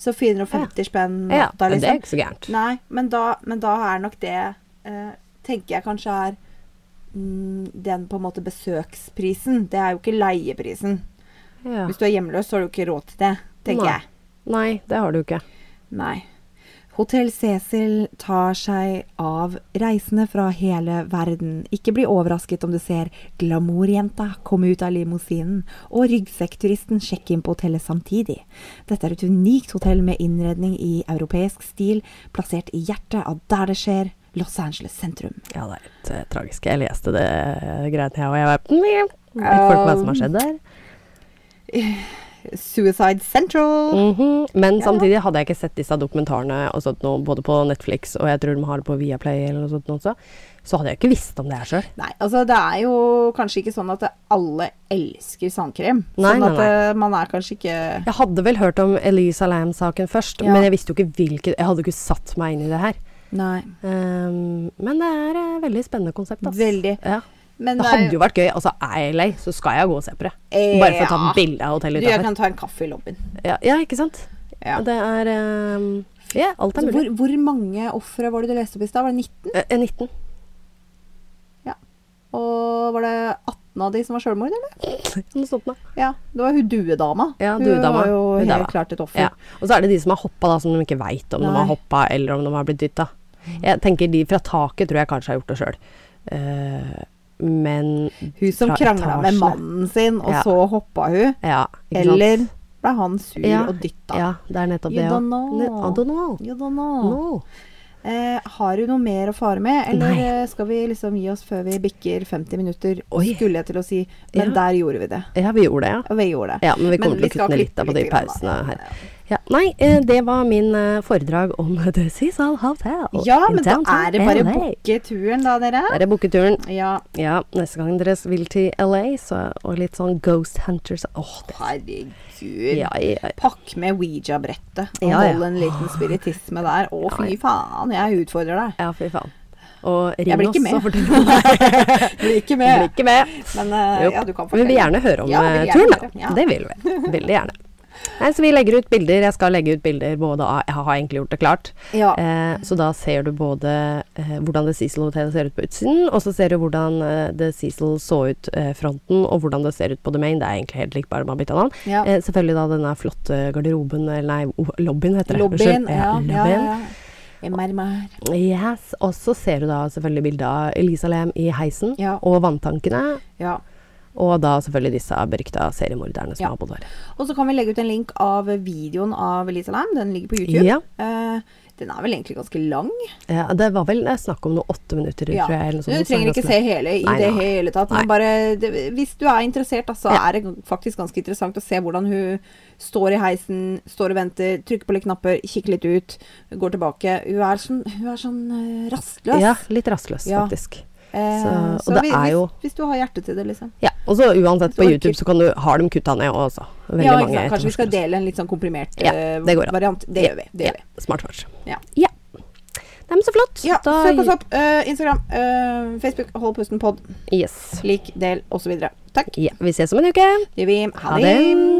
B: Så 450 spenn
A: ja.
B: natta,
A: men Det
B: liksom.
A: er ikke så gærent.
B: Nei, men da, men da er nok det eh, Tenker jeg kanskje er mm, den på en måte besøksprisen. Det er jo ikke leieprisen.
A: Ja.
B: Hvis du er hjemløs, så har du ikke råd til det, tenker
A: Nei.
B: jeg.
A: Nei, det har du ikke.
B: Nei. Hotell Cecil tar seg av reisende fra hele verden. Ikke bli overrasket om du ser glamourjenta komme ut av limousinen og ryggsekkturisten sjekke inn på hotellet samtidig. Dette er et unikt hotell med innredning i europeisk stil, plassert i hjertet av der det skjer, Los Angeles sentrum.
A: Ja, det er litt eh, tragisk. Jeg leste det eh, greiene, jeg, og <laughs> jeg bare Jeg får ikke hva som har skjedd der.
B: Suicide Central.
A: Mhm. Men
B: Ja.
A: samtidig hadde jeg ikke sett disse dokumentarene og sånt noe, både på Netflix og jeg tror de har det på Viaplay eller noe sånt noe også, så hadde jeg ikke visst om det her sjøl.
B: Nei, altså det er jo kanskje ikke sånn at alle elsker sandkrem.
A: Nei,
B: sånn
A: nei,
B: at eh, man er kanskje ikke
A: Jeg hadde vel hørt om Elisa Lam-saken først,
B: Ja.
A: men jeg visste jo ikke hvilket Jeg hadde ikke satt meg inn i det her.
B: Nei.
A: Ehm, men det er et veldig spennende konsept. ass.
B: Veldig.
A: Ja.
B: Men
A: Det hadde jo vært gøy. Altså, er jeg lei, så skal jeg gå og se på det.
B: Eh,
A: Bare for å ta
B: ja.
A: et bilde av hotellet
B: Du, jeg
A: utafor.
B: kan ta en kaffe i lobbyen.
A: Ja, ja, ikke sant?
B: Ja.
A: Det er ehm, Ja, alt er
B: Altså, hvor,
A: mulig.
B: hvor mange ofre var det du leste opp i stad? Var det 19?
A: Eh, 19.
B: Ja. Og var det 18 av de som var sjølmord, eller?
A: <laughs> Noe sånt noe.
B: Ja. Det var hun duedama.
A: Ja,
B: Hun
A: duedama.
B: var jo
A: Hun
B: helt
A: dama.
B: klart et offer.
A: Ja. Og så er det de som har hoppa, da, som de ikke veit om de
B: Nei. Mm.
A: har hoppa eller om de har blitt dytta. Jeg tenker de fra taket tror jeg kanskje har gjort det sjøl. Eh, men
B: Hun som
A: fra
B: krangla med
A: etasjene.
B: mannen sin, og
A: Ja.
B: så hoppa hun.
A: Ja, ikke
B: Eller
A: sant?
B: ble han sur
A: Ja.
B: og dytta?
A: Ja, det er nettopp
B: You
A: det.
B: don't
A: ja.
B: know.
A: Ne- I don't know.
B: You don't know.
A: No.
B: Eh, har du noe mer å fare med, eller
A: Nei.
B: eh, skal vi liksom gi oss før vi bikker 50 minutter?
A: Oi.
B: Skulle jeg til å si. Men
A: Ja.
B: der gjorde vi det.
A: Ja, vi gjorde det, ja.
B: Og vi gjorde det.
A: Ja, men vi kommer til å
B: skal
A: kutte ned litt
B: klippe
A: da på de
B: grann, da.
A: pausene her. Ja, nei, eh, det var min eh, foredrag om The Cecil Hotel.
B: Ja,
A: in
B: men da
A: downtown
B: er det bare å
A: LA.
B: booke turen, da, dere.
A: Der er booketuren.
B: Ja,
A: Ja, neste gang dere vil til LA, så, og litt sånn Ghost Hunters Åh, det
B: herregud.
A: ja, ja,
B: Pakk med Ouija-brettet og
A: Ja, ja.
B: hold en liten spiritisme der. Å, fy faen, jeg utfordrer deg.
A: ja, fy faen. Og
B: Jeg
A: ring
B: blir
A: oss
B: ikke med. <laughs>
A: og fortell Nei,
B: Blir
A: jeg blir
B: ikke med.
A: ikke med.
B: Men eh,
A: Jo.
B: ja, du kan
A: Vi vil
B: fortelle.
A: gjerne høre om
B: Ja, vi vil
A: eh,
B: gjerne
A: turen, da.
B: høre. Ja.
A: Det vil vi. Veldig gjerne. Nei, så vi legger ut bilder. Jeg skal legge ut bilder både av Jeg har egentlig gjort det klart.
B: Ja.
A: Eh, så da ser du både eh, hvordan det Cecil-hotellet ser ut på utsiden, og så ser du hvordan eh, det Cecil så ut eh, fronten, og hvordan det ser ut på The Main. Det er egentlig helt likt, bare man har bytta navn.
B: Ja.
A: Eh, selvfølgelig da denne flotte garderoben, eller nei, o- lobbyen heter det.
B: Lobbyen.
A: Unnskyld.
B: Ja, ja,
A: lobbyen.
B: ja. Jeg mermer.
A: Yes. Og så ser du da selvfølgelig bildet av Elisalem i heisen,
B: Ja.
A: og vanntankene.
B: Ja.
A: Og da selvfølgelig disse berykta seriemorderne som
B: Ja.
A: har bodd her.
B: Og så kan vi legge ut en link av videoen av Lisa Lam. Den ligger på YouTube.
A: Ja.
B: Eh, den er vel egentlig ganske lang.
A: Ja, det var vel eh, snakk om noe åtte minutter, tror jeg. Eller noe
B: Så
A: sånt,
B: Du
A: så
B: trenger ikke
A: ganske-
B: se hele i
A: Nei,
B: det
A: nei.
B: hele tatt.
A: Nei.
B: Men bare, det, hvis du er interessert, da, så
A: Ja.
B: er det faktisk ganske interessant å se hvordan hun står i heisen, står og venter, trykker på litt knapper, kikker litt ut, går tilbake. Hun er sånn, hun er sånn eh, rastløs.
A: Ja, litt rastløs,
B: Ja.
A: faktisk.
B: Eh,
A: så- og
B: så
A: det
B: vi-
A: er jo-
B: hvis, hvis du har hjerte til det, liksom.
A: Ja, og så uansett på
B: Så-
A: YouTube så kan du, har de kutta ned også. Veldig
B: Ja, ikke
A: mange
B: sant? Kanskje vi skal
A: etterforskere.
B: dele en litt sånn komprimert
A: Ja,
B: eh,
A: det går an.
B: variant. Det gjør vi. Det gjør vi.
A: ja, smart svart.
B: Ja.
A: ja. Nei, men så flott.
B: Ja,
A: Da-
B: søk oss opp. eh, Instagram, eh, Facebook, Hold pusten pod,
A: Yes.
B: lik, del osv. Takk.
A: Ja, vi ses om en uke.
B: Det gjør vi.
A: Ha det.